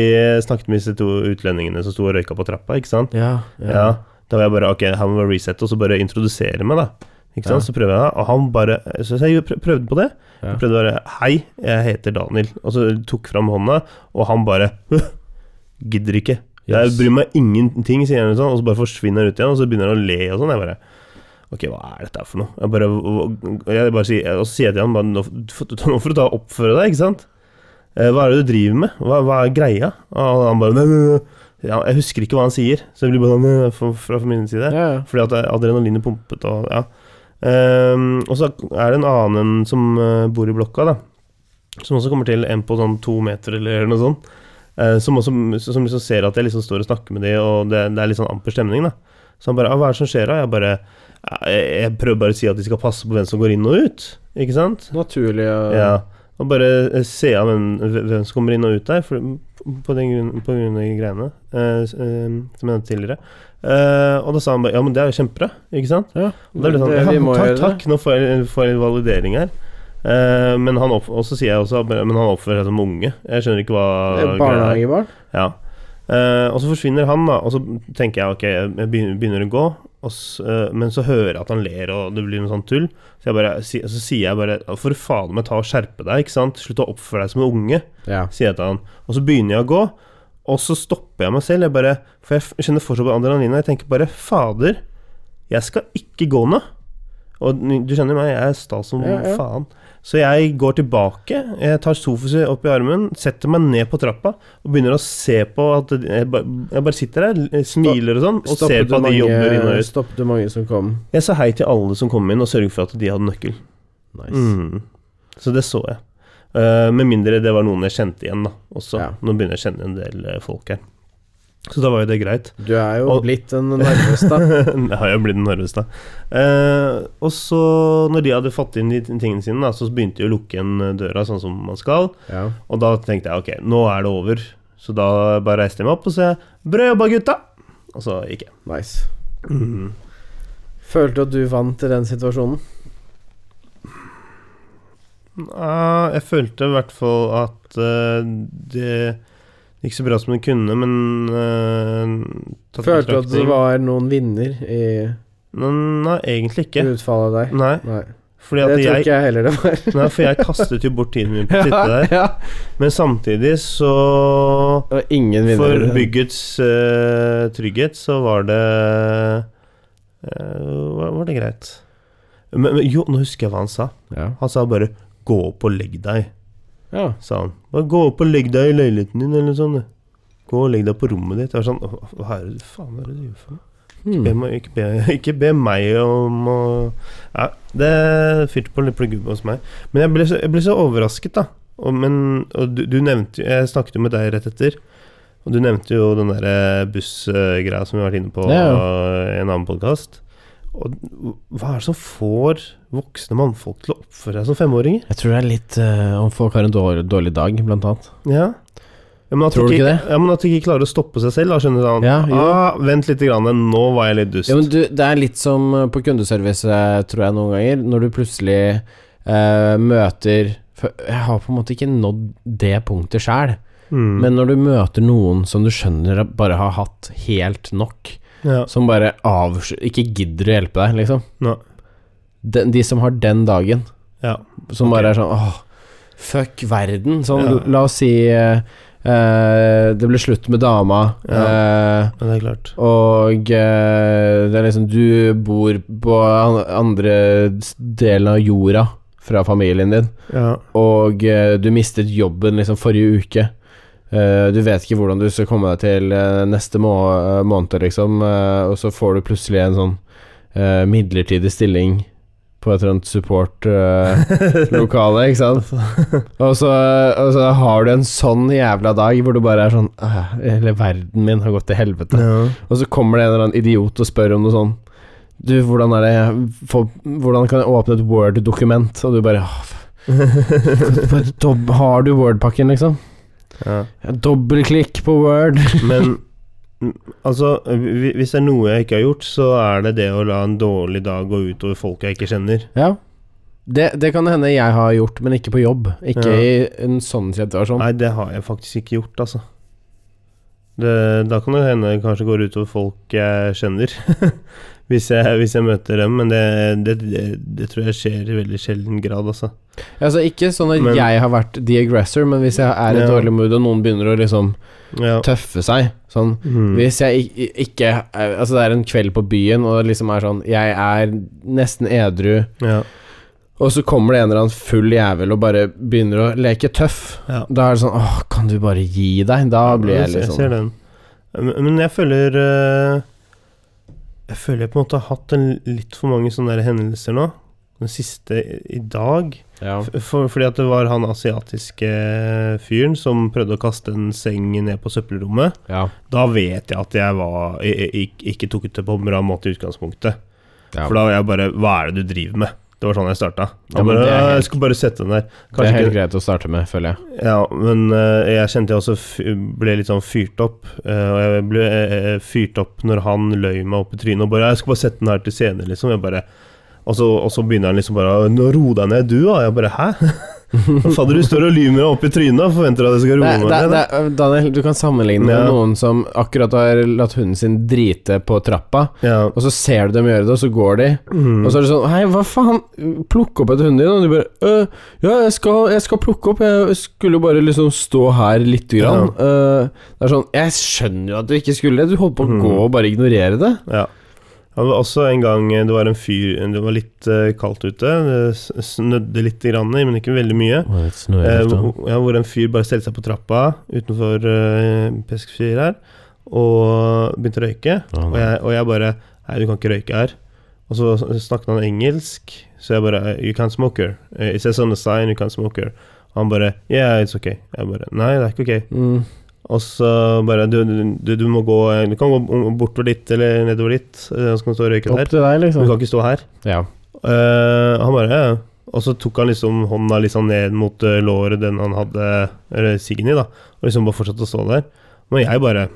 [SPEAKER 1] snakket med disse to utlendingene som sto og røyka på trappa, ikke sant?
[SPEAKER 2] Ja,
[SPEAKER 1] Ja. Da var jeg bare ok, her må jeg resette, og så bare introdusere meg, da. Ikke
[SPEAKER 2] Ja.
[SPEAKER 1] sant? Så prøver jeg det, og han bare Så jeg prø- prøvde på det.
[SPEAKER 2] Ja.
[SPEAKER 1] Jeg prøvde bare Hei, jeg heter Daniel. Og så tok fram hånda, og han bare Gidder ikke. Jeg
[SPEAKER 2] Yes.
[SPEAKER 1] bryr meg ingenting, sier han sånn, og så bare forsvinner han ut igjen, og så begynner han å le og sånn. Jeg bare Ok, hva er dette her for noe? Jeg bare, jeg bare sier, og så sier jeg til han bare, nå, får du- nå får du ta og oppføre deg, ikke sant? Eh, Hva er det du driver med? Hva, hva er greia? Og han bare nei, nei, nei. Ja, Jeg husker ikke hva han sier, så det blir bare sånn «Nei, nei», fra, fra min side.
[SPEAKER 2] ja.
[SPEAKER 1] Fordi at adrenalinet pumpet og ja. Ehm, og så er det en annen som eh, bor i blokka, da. Som også kommer til en på sånn to meter eller noe sånt. eh, som også som liksom ser at jeg liksom står og snakker med de, og det, det er litt sånn amper stemning, da. Så han bare «Ah, 'Hva er det som skjer da?' Jeg bare «Ah, jeg, jeg prøver bare å si at de skal passe på hvem som går inn og ut, ikke sant?
[SPEAKER 2] Naturlig og
[SPEAKER 1] Ja. Og bare eh, se av hvem, hvem som kommer inn og ut der, for, på, den grunn, på grunn av de greiene eh, s- eh, som jeg nevnte tidligere. Eh, og da sa han bare Ja, men det er jo kjempebra, ikke sant?
[SPEAKER 2] Ja,
[SPEAKER 1] Og da er det sånn,
[SPEAKER 2] det- vi må
[SPEAKER 1] ja, takk,
[SPEAKER 2] gjøre det.
[SPEAKER 1] takk, nå får jeg, får jeg litt validering her. Eh, men han opp, og så sier jeg også Men han oppfører seg som unge. Jeg skjønner ikke hva
[SPEAKER 2] Det er
[SPEAKER 1] greia er.
[SPEAKER 2] Barnehagebarn?
[SPEAKER 1] Ja. Eh, og så forsvinner han, da. Og så tenker jeg ok, jeg begynner, begynner å gå. Og s- eh, men så hører jeg at han ler, og det blir noe sånn tull. Så, jeg bare, si, så sier jeg bare For faen meg, ta og skjerpe deg, ikke sant? Slutt å oppføre deg som en unge,
[SPEAKER 2] Ja.
[SPEAKER 1] sier jeg til han. Og så begynner jeg å gå, Og så stopper jeg meg selv. Jeg bare, for jeg f- kjenner fortsatt på adrenalin. Og jeg tenker bare Fader, jeg skal ikke gå nå. Og n- du kjenner meg, jeg er sta som
[SPEAKER 2] Ja, ja.
[SPEAKER 1] faen. Så jeg går tilbake, jeg tar sofaen opp i armen, setter meg ned på trappa og begynner å se på at Jeg, ba, jeg bare sitter der, smiler og sånn, og ser
[SPEAKER 2] Stoppet
[SPEAKER 1] på
[SPEAKER 2] du
[SPEAKER 1] at de jobber inn
[SPEAKER 2] mange,
[SPEAKER 1] og ut.
[SPEAKER 2] stoppet du mange som kom?
[SPEAKER 1] Jeg sa hei til alle som kom inn, og sørget for at de hadde nøkkel.
[SPEAKER 2] Nice.
[SPEAKER 1] Mm. Så det så jeg. Eh, med mindre det var noen jeg kjente igjen, da. Også.
[SPEAKER 2] Ja.
[SPEAKER 1] Nå begynner jeg å kjenne en del eh, folk her. Så da var jo det greit.
[SPEAKER 2] Du er jo
[SPEAKER 1] Og-
[SPEAKER 2] blitt en nervøs, da.
[SPEAKER 1] det har jo blitt nervøs, da. Eh, og så, når de hadde fått inn de tingene sine, da, så begynte de å lukke igjen eh, døra, sånn som man skal.
[SPEAKER 2] Ja.
[SPEAKER 1] Og da tenkte jeg ok, nå er det over. Så da bare reiste jeg meg opp og sa 'Bra jobba, gutta!' Og så gikk jeg.
[SPEAKER 2] Nice. Følte du at du vant i den situasjonen?
[SPEAKER 1] Nja, Ah, jeg følte i hvert fall at eh, det gikk så bra som det kunne, men eh, tatt i
[SPEAKER 2] Følte du at det
[SPEAKER 1] betraktning-
[SPEAKER 2] var noen vinner i
[SPEAKER 1] Nei, nei, egentlig ikke.
[SPEAKER 2] utfallet der?
[SPEAKER 1] Nei,
[SPEAKER 2] Nei.
[SPEAKER 1] fordi
[SPEAKER 2] Det
[SPEAKER 1] at
[SPEAKER 2] tror
[SPEAKER 1] jeg,
[SPEAKER 2] ikke jeg heller det var.
[SPEAKER 1] nei, for jeg kastet jo bort tiden min på å sitte der.
[SPEAKER 2] ja.
[SPEAKER 1] Men samtidig så
[SPEAKER 2] Det var ingen vinner.
[SPEAKER 1] For byggets eh, trygghet så var det eh, var, var det greit. Men, men jo, nå husker jeg hva han sa.
[SPEAKER 2] Ja.
[SPEAKER 1] Han sa bare 'gå opp og legg deg'.
[SPEAKER 2] ja.
[SPEAKER 1] sa han. Bare gå opp og legg deg i leiligheten din, eller sånn. Gå og legg deg på rommet ditt. Jeg var sånn «Åh, Hva er det faen hva er det du gjør for noe? Be
[SPEAKER 2] Hmm.
[SPEAKER 1] meg, ikke, be, ikke be meg om å Ja, det fyrte på litt pluggebbe hos meg. Men jeg ble så, jeg ble så overrasket, da. Og, men, og du, du nevnte jo Jeg snakket jo med deg rett etter. Og du nevnte jo den der eh, bussgreia som vi har vært inne på
[SPEAKER 2] Ja,
[SPEAKER 1] i en annen podkast. Og hva er det som får voksne mannfolk til å oppføre seg som femåringer?
[SPEAKER 2] Jeg tror det er litt eh, om folk har en dårlig, dårlig dag, blant annet.
[SPEAKER 1] Ja. ja men at
[SPEAKER 2] Tror du
[SPEAKER 1] ikke
[SPEAKER 2] ikke
[SPEAKER 1] Ja, men at de ikke klarer å stoppe seg selv, da, skjønner du. Sånn.
[SPEAKER 2] Ja, jo.
[SPEAKER 1] ah, vent litt, grann, nå var jeg litt dust.
[SPEAKER 2] Ja, men du, det er litt som eh, på kundeservice, eh, tror jeg, noen ganger. Når du plutselig eh, møter for Jeg har på en måte ikke nådd det punktet sjæl,
[SPEAKER 1] mm.
[SPEAKER 2] men når du møter noen som du skjønner at bare har hatt helt nok,
[SPEAKER 1] ja.
[SPEAKER 2] som bare avsky... Ikke gidder å hjelpe deg, liksom.
[SPEAKER 1] Nå.
[SPEAKER 2] De, de som har den dagen,
[SPEAKER 1] ja.
[SPEAKER 2] som
[SPEAKER 1] Ok.
[SPEAKER 2] bare er sånn åh, fuck verden. Sånn,
[SPEAKER 1] Ja.
[SPEAKER 2] la oss si eh, eh, det ble slutt med dama. eh,
[SPEAKER 1] ja, det er klart.
[SPEAKER 2] og eh, det er liksom Du bor på an- andre s- delen av jorda fra familien din,
[SPEAKER 1] Ja.
[SPEAKER 2] og eh, du mistet jobben liksom forrige uke. Eh, du vet ikke hvordan du skal komme deg til eh, neste må eh, måned, liksom, eh, og så får du plutselig en sånn eh, midlertidig stilling på et eller annet Eh, support-lokale, ikke sant? Og så, eh, og så har du en sånn jævla dag hvor du bare er sånn «Æh, Hele verden min har gått til helvete.
[SPEAKER 1] ja.
[SPEAKER 2] Og så kommer det en eller annen idiot og spør om noe sånn Du, hvordan er det jeg får, Hvordan kan jeg åpne et Word-dokument? Og du bare «Åh, f- bare dob- Har du Word-pakken, liksom?
[SPEAKER 1] ja.
[SPEAKER 2] Ja, Dobbelklikk på Word.
[SPEAKER 1] Men mm, altså, hvi- hvis det er noe jeg ikke har gjort, så er det det å la en dårlig dag gå utover folk jeg ikke kjenner.
[SPEAKER 2] Ja. Det, det kan hende jeg har gjort, men ikke på jobb. Ikke
[SPEAKER 1] Ja.
[SPEAKER 2] i en sånn situasjon.
[SPEAKER 1] Nei, det har jeg faktisk ikke gjort, altså. Det, da kan det hende det kanskje går utover folk jeg kjenner, hvis, jeg, hvis jeg møter dem. Men det, det, det, det tror jeg skjer i veldig sjelden grad, altså.
[SPEAKER 2] Altså Ikke sånn at
[SPEAKER 1] Men-
[SPEAKER 2] jeg har vært the aggressor, men hvis jeg er i
[SPEAKER 1] Ja.
[SPEAKER 2] dårlig mood og noen begynner å liksom
[SPEAKER 1] Ja.
[SPEAKER 2] tøffe seg Sånn
[SPEAKER 1] Mm.
[SPEAKER 2] Hvis jeg ik- ik- ikke eh, Altså, det er en kveld på byen, og det liksom er sånn Jeg er nesten edru,
[SPEAKER 1] Ja.
[SPEAKER 2] og så kommer det en eller annen full jævel og bare begynner å leke tøff.
[SPEAKER 1] Ja.
[SPEAKER 2] Da er det sånn Åh, kan du bare gi deg? Da blir jeg litt
[SPEAKER 1] Jeg ser
[SPEAKER 2] sånn
[SPEAKER 1] den. Men men jeg føler eh, Jeg føler jeg på en måte har hatt en, litt for mange sånne der hendelser nå. Den siste i- i dag.
[SPEAKER 2] ja.
[SPEAKER 1] F- For, fordi at det var han asiatiske eh, fyren som prøvde å kaste en seng ned på søppelrommet.
[SPEAKER 2] Ja.
[SPEAKER 1] Da vet jeg at jeg var jeg, jeg, ikke tok ut det på en bra måte i utgangspunktet.
[SPEAKER 2] Ja.
[SPEAKER 1] For da var jeg bare Hva er det du driver med? Det var sånn jeg starta.
[SPEAKER 2] Ja,
[SPEAKER 1] Jeg,
[SPEAKER 2] men
[SPEAKER 1] bare,
[SPEAKER 2] det er
[SPEAKER 1] «Ja,
[SPEAKER 2] helt-
[SPEAKER 1] jeg skulle bare sette den der.
[SPEAKER 2] Det er
[SPEAKER 1] Kanskje
[SPEAKER 2] helt
[SPEAKER 1] ikke
[SPEAKER 2] greit å starte med, føler jeg.
[SPEAKER 1] Ja, men eh, jeg kjente jeg også f- ble litt sånn fyrt opp. eh, og jeg ble eh, eh, fyrt opp når han løy meg opp i trynet og bare 'Jeg skal bare sette den her til senere', liksom. Jeg bare og så, og så begynner han liksom bare 'Nå ro deg ned, du', da. Jeg bare 'Hæ?' Fadder, du står og lyver meg opp i trynet og forventer at jeg skal roe
[SPEAKER 2] Det,
[SPEAKER 1] meg
[SPEAKER 2] det,
[SPEAKER 1] ned.
[SPEAKER 2] det, Daniel, du kan sammenligne med
[SPEAKER 1] Ja.
[SPEAKER 2] noen som akkurat har latt hunden sin drite på trappa,
[SPEAKER 1] Ja.
[SPEAKER 2] og så ser du dem gjøre det, og så går de.
[SPEAKER 1] Mm.
[SPEAKER 2] Og så er det sånn Hei, hva faen? Plukk opp et hundehjul, og du bare «Øh, Ja, jeg skal, jeg skal plukke opp, jeg skulle jo bare liksom stå her lite grann. Øh, det er sånn Jeg skjønner jo at du ikke skulle det, du holdt på å
[SPEAKER 1] Mm.
[SPEAKER 2] gå og bare ignorere det.
[SPEAKER 1] Ja. Det var også en gang eh, det var en fyr Det var litt eh, kaldt ute. Det s- snødde litt, grann, men ikke veldig mye. Eh, hvor- ja, hvor en fyr bare stelte seg på trappa utenfor eh, Peskefjell her og begynte å røyke. Og jeg, og jeg bare Nei, du kan ikke røyke her. Og så snakket han engelsk, så jeg bare You can't smoke here. Eh, It says on the sign you can't smoke here. Og han bare Yeah, it's okay. Jeg bare Nei, det er ikke ok.
[SPEAKER 2] Mm.
[SPEAKER 1] Og så bare du, du, du må gå Du kan gå bortover dit eller nedover dit, eh, så kan du stå og røyke
[SPEAKER 2] Opp
[SPEAKER 1] der.
[SPEAKER 2] til deg,
[SPEAKER 1] Du
[SPEAKER 2] liksom.
[SPEAKER 1] kan ikke stå her.
[SPEAKER 2] Ja.
[SPEAKER 1] Eh, han bare ja. Og så tok han liksom hånda litt sånn ned mot eh, låret den han hadde eller siggen i, da. Og liksom bare fortsatte å stå der. Men jeg bare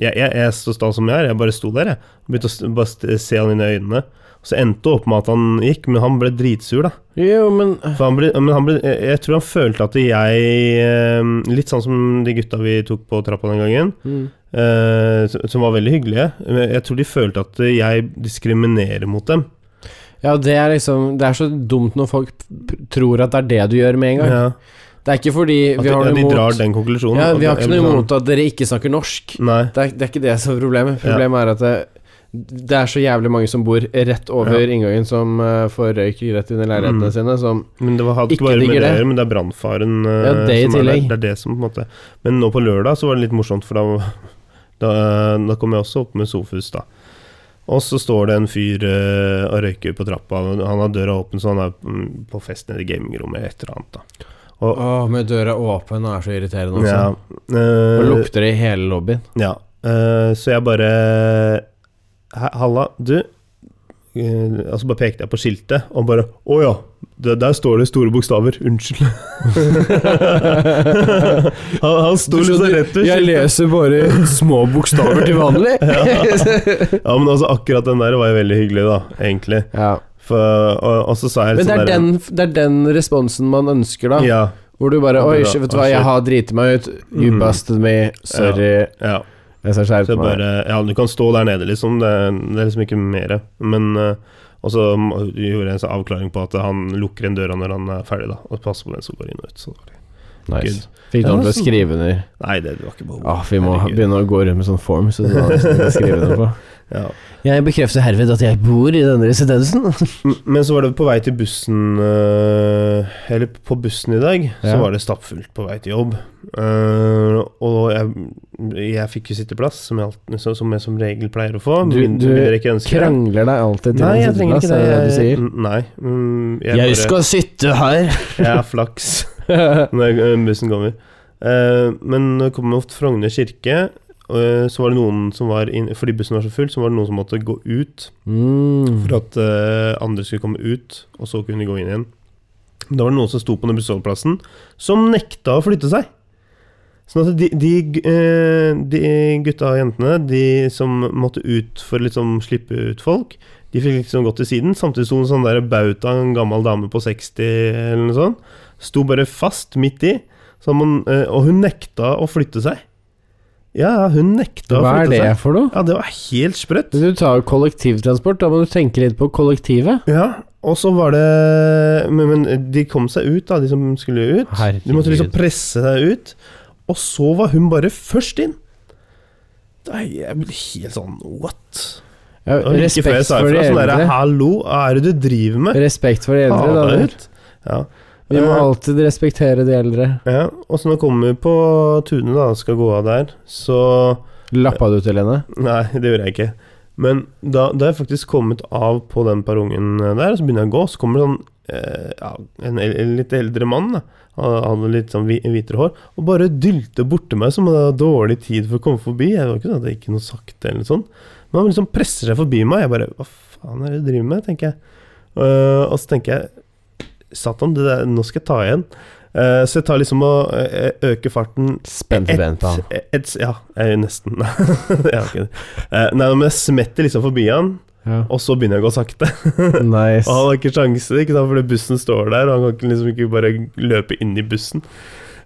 [SPEAKER 1] Jeg, jeg, jeg står sta som jeg er. Jeg bare sto der, jeg. Begynte å s- bare st- se han inn i øynene. Så endte det opp med at han gikk, men han ble dritsur, da.
[SPEAKER 2] Jo, men eh,
[SPEAKER 1] For han ble, men han ble, jeg jeg tror han følte at jeg eh, Litt sånn som de gutta vi tok på trappa den gangen,
[SPEAKER 2] mm.
[SPEAKER 1] eh, som- som var veldig hyggelige. Men jeg tror de følte at jeg diskriminerer mot dem.
[SPEAKER 2] Ja, det er liksom Det er så dumt når folk p- tror at det er det du gjør med en gang.
[SPEAKER 1] Ja.
[SPEAKER 2] Det er ikke fordi
[SPEAKER 1] At
[SPEAKER 2] vi
[SPEAKER 1] de,
[SPEAKER 2] har
[SPEAKER 1] ja,
[SPEAKER 2] noe
[SPEAKER 1] de drar
[SPEAKER 2] imot
[SPEAKER 1] den konklusjonen.
[SPEAKER 2] ja, Vi har
[SPEAKER 1] At-
[SPEAKER 2] ikke noe
[SPEAKER 1] ja,
[SPEAKER 2] imot at dere ikke snakker norsk.
[SPEAKER 1] Nei.
[SPEAKER 2] Det er, det er ikke det som er problemet.
[SPEAKER 1] Ja.
[SPEAKER 2] Problemet er at det, det er så jævlig mange som bor rett over
[SPEAKER 1] Ja.
[SPEAKER 2] inngangen, som eh, får røyk rett under leilighetene
[SPEAKER 1] Mm.
[SPEAKER 2] sine, som
[SPEAKER 1] Men det var, hadde
[SPEAKER 2] Ikke
[SPEAKER 1] ikke bare med
[SPEAKER 2] digger
[SPEAKER 1] det å
[SPEAKER 2] det.
[SPEAKER 1] gjøre, men det er brannfaren eh,
[SPEAKER 2] Ja, det i
[SPEAKER 1] som er der.
[SPEAKER 2] tillegg.
[SPEAKER 1] Det er det som på en måte Men nå på lørdag så var det litt morsomt, for da, da, da kom jeg også opp med Sofus, da. Og så står det en fyr eh, og røyker på trappa. Han har døra åpen, så han er mm, på fest nede i gamingrommet eller et eller annet. da
[SPEAKER 2] Å, med døra åpen er så irriterende også.
[SPEAKER 1] ja,
[SPEAKER 2] altså. Og
[SPEAKER 1] eh,
[SPEAKER 2] lukter det i hele lobbyen.
[SPEAKER 1] ja. Eh, så jeg bare «Hæ, Halla, du. Eh, og så bare pekte jeg på skiltet, og bare Å ja, det, der står det i store bokstaver. Unnskyld. han, han sto liksom rett ved
[SPEAKER 2] jeg
[SPEAKER 1] skiltet.
[SPEAKER 2] leser bare små bokstaver til vanlig.
[SPEAKER 1] Ja, men altså, akkurat den der var jo veldig hyggelig, da, egentlig.
[SPEAKER 2] ja.
[SPEAKER 1] For, og, og så sa jeg
[SPEAKER 2] Men det er,
[SPEAKER 1] sånn der-
[SPEAKER 2] den, det er den responsen man ønsker, da.
[SPEAKER 1] Ja,
[SPEAKER 2] Hvor du bare
[SPEAKER 1] Ja, det
[SPEAKER 2] Oi,
[SPEAKER 1] er
[SPEAKER 2] shit,
[SPEAKER 1] det.
[SPEAKER 2] vet du hva, jeg har driti meg ut. You
[SPEAKER 1] Mm.
[SPEAKER 2] busted me. Sorry.
[SPEAKER 1] ja.
[SPEAKER 2] Jeg skal
[SPEAKER 1] Så
[SPEAKER 2] skjerpe
[SPEAKER 1] jeg
[SPEAKER 2] meg.
[SPEAKER 1] bare Ja, du kan stå der nede, liksom. Det, er- det er liksom ikke mere. Men eh, Og så m- gjorde jeg en sånn avklaring på at han lukker igjen døra når han er ferdig, da. Og passer på den som går inn og ut. Så. det var det.
[SPEAKER 2] Nice. Fikk du
[SPEAKER 1] Ja,
[SPEAKER 2] ham til å
[SPEAKER 1] så-
[SPEAKER 2] skrive under?
[SPEAKER 1] Nei, det var ikke behov.
[SPEAKER 2] Ja, vi må ha-
[SPEAKER 1] Herregud.
[SPEAKER 2] begynne å gå rundt med sånn form, så du har nesten ikke å skrive under på.
[SPEAKER 1] Ja.
[SPEAKER 2] Jeg bekrefter herved at jeg bor i denne residensen.
[SPEAKER 1] M- Men så var det på vei til bussen eh, Eller på bussen i dag,
[SPEAKER 2] Ja.
[SPEAKER 1] så var det stappfullt på vei til jobb. Eh, og jeg, jeg fikk jo sitteplass, som jeg, alt- så- som jeg som regel pleier å få.
[SPEAKER 2] Du-
[SPEAKER 1] min-
[SPEAKER 2] du
[SPEAKER 1] mindre jeg ikke ønsker det.
[SPEAKER 2] Krangler deg alltid til
[SPEAKER 1] Nei,
[SPEAKER 2] en
[SPEAKER 1] jeg trenger
[SPEAKER 2] sitteplass,
[SPEAKER 1] ikke
[SPEAKER 2] er
[SPEAKER 1] det.
[SPEAKER 2] det du sier?
[SPEAKER 1] N- Nei. mm,
[SPEAKER 2] Jeg,
[SPEAKER 1] bare-
[SPEAKER 2] skal sitte her!
[SPEAKER 1] Jeg er flaks når eh, bussen kommer. Eh, men når jeg kom opp til Frogner kirke, eh, så var det noen som var inn, Fordi bussen var så full, så var det noen som måtte gå ut
[SPEAKER 2] mm.
[SPEAKER 1] for at eh, andre skulle komme ut, og så kunne de gå inn igjen. Da var det noen som sto på den bussholdeplassen, som nekta å flytte seg. Sånn at de, de, gu- eh, de gutta og jentene, de som måtte ut for å liksom slippe ut folk, de fikk liksom gått til siden. Samtidig sto en sånn der bauta, en gammel dame på 60 eller noe sånt, sto bare fast midt i, så man, eh, og hun nekta å flytte seg. Ja, hun nekta å
[SPEAKER 2] Hva er
[SPEAKER 1] flytte
[SPEAKER 2] det
[SPEAKER 1] seg.
[SPEAKER 2] for noe?
[SPEAKER 1] Ja, det var helt sprøtt.
[SPEAKER 2] Du tar jo kollektivtransport, da må du tenke litt på kollektivet.
[SPEAKER 1] Ja, og så var det men, men de kom seg ut, da, de som skulle ut.
[SPEAKER 2] Herregud.
[SPEAKER 1] De måtte liksom presse seg ut. Og så var hun bare først inn. Da er jeg blir helt sånn what?
[SPEAKER 2] Ja,
[SPEAKER 1] Og like før jeg
[SPEAKER 2] respekt
[SPEAKER 1] sa
[SPEAKER 2] for de
[SPEAKER 1] ifra, sånn derre
[SPEAKER 2] eldre.
[SPEAKER 1] hallo, hva er det du driver med?
[SPEAKER 2] Respekt for de eldre,
[SPEAKER 1] Ha
[SPEAKER 2] da.
[SPEAKER 1] deg
[SPEAKER 2] Daniel.
[SPEAKER 1] ut. Ja.
[SPEAKER 2] Vi må
[SPEAKER 1] Eh,
[SPEAKER 2] alltid respektere de eldre.
[SPEAKER 1] ja. Og så når jeg kommer på Tune, da, og skal gå av der, så
[SPEAKER 2] Lappa du til henne?
[SPEAKER 1] Nei, det gjorde jeg ikke. Men da, da har jeg faktisk kommet av på den perrongen der, så begynner jeg å gå, så kommer det sånn eh, ja, en, el- en litt eldre mann, da. han hadde litt sånn hvi- hvitere hår, og bare dylte borti meg som om det var dårlig tid for å komme forbi. Jeg var ikke sånn at jeg gikk noe sakte eller noe sånt. Men han liksom presser seg forbi meg, jeg bare Hva faen er det du driver med, tenker jeg. Eh, og så tenker jeg Satan, det der, nå skal jeg ta igjen. Eh, så jeg tar liksom og eh, øker farten
[SPEAKER 2] Spent ben på han.
[SPEAKER 1] et, et, ja, jeg er nesten. Nei, jeg har ikke det. Eh, nei, men jeg smetter liksom forbi han,
[SPEAKER 2] Ja.
[SPEAKER 1] Og så begynner jeg å gå sakte. Og
[SPEAKER 2] Nice.
[SPEAKER 1] han har ikke sjanse, ikke sant? fordi bussen står der, og han kan ikke- liksom ikke bare løpe inn i bussen.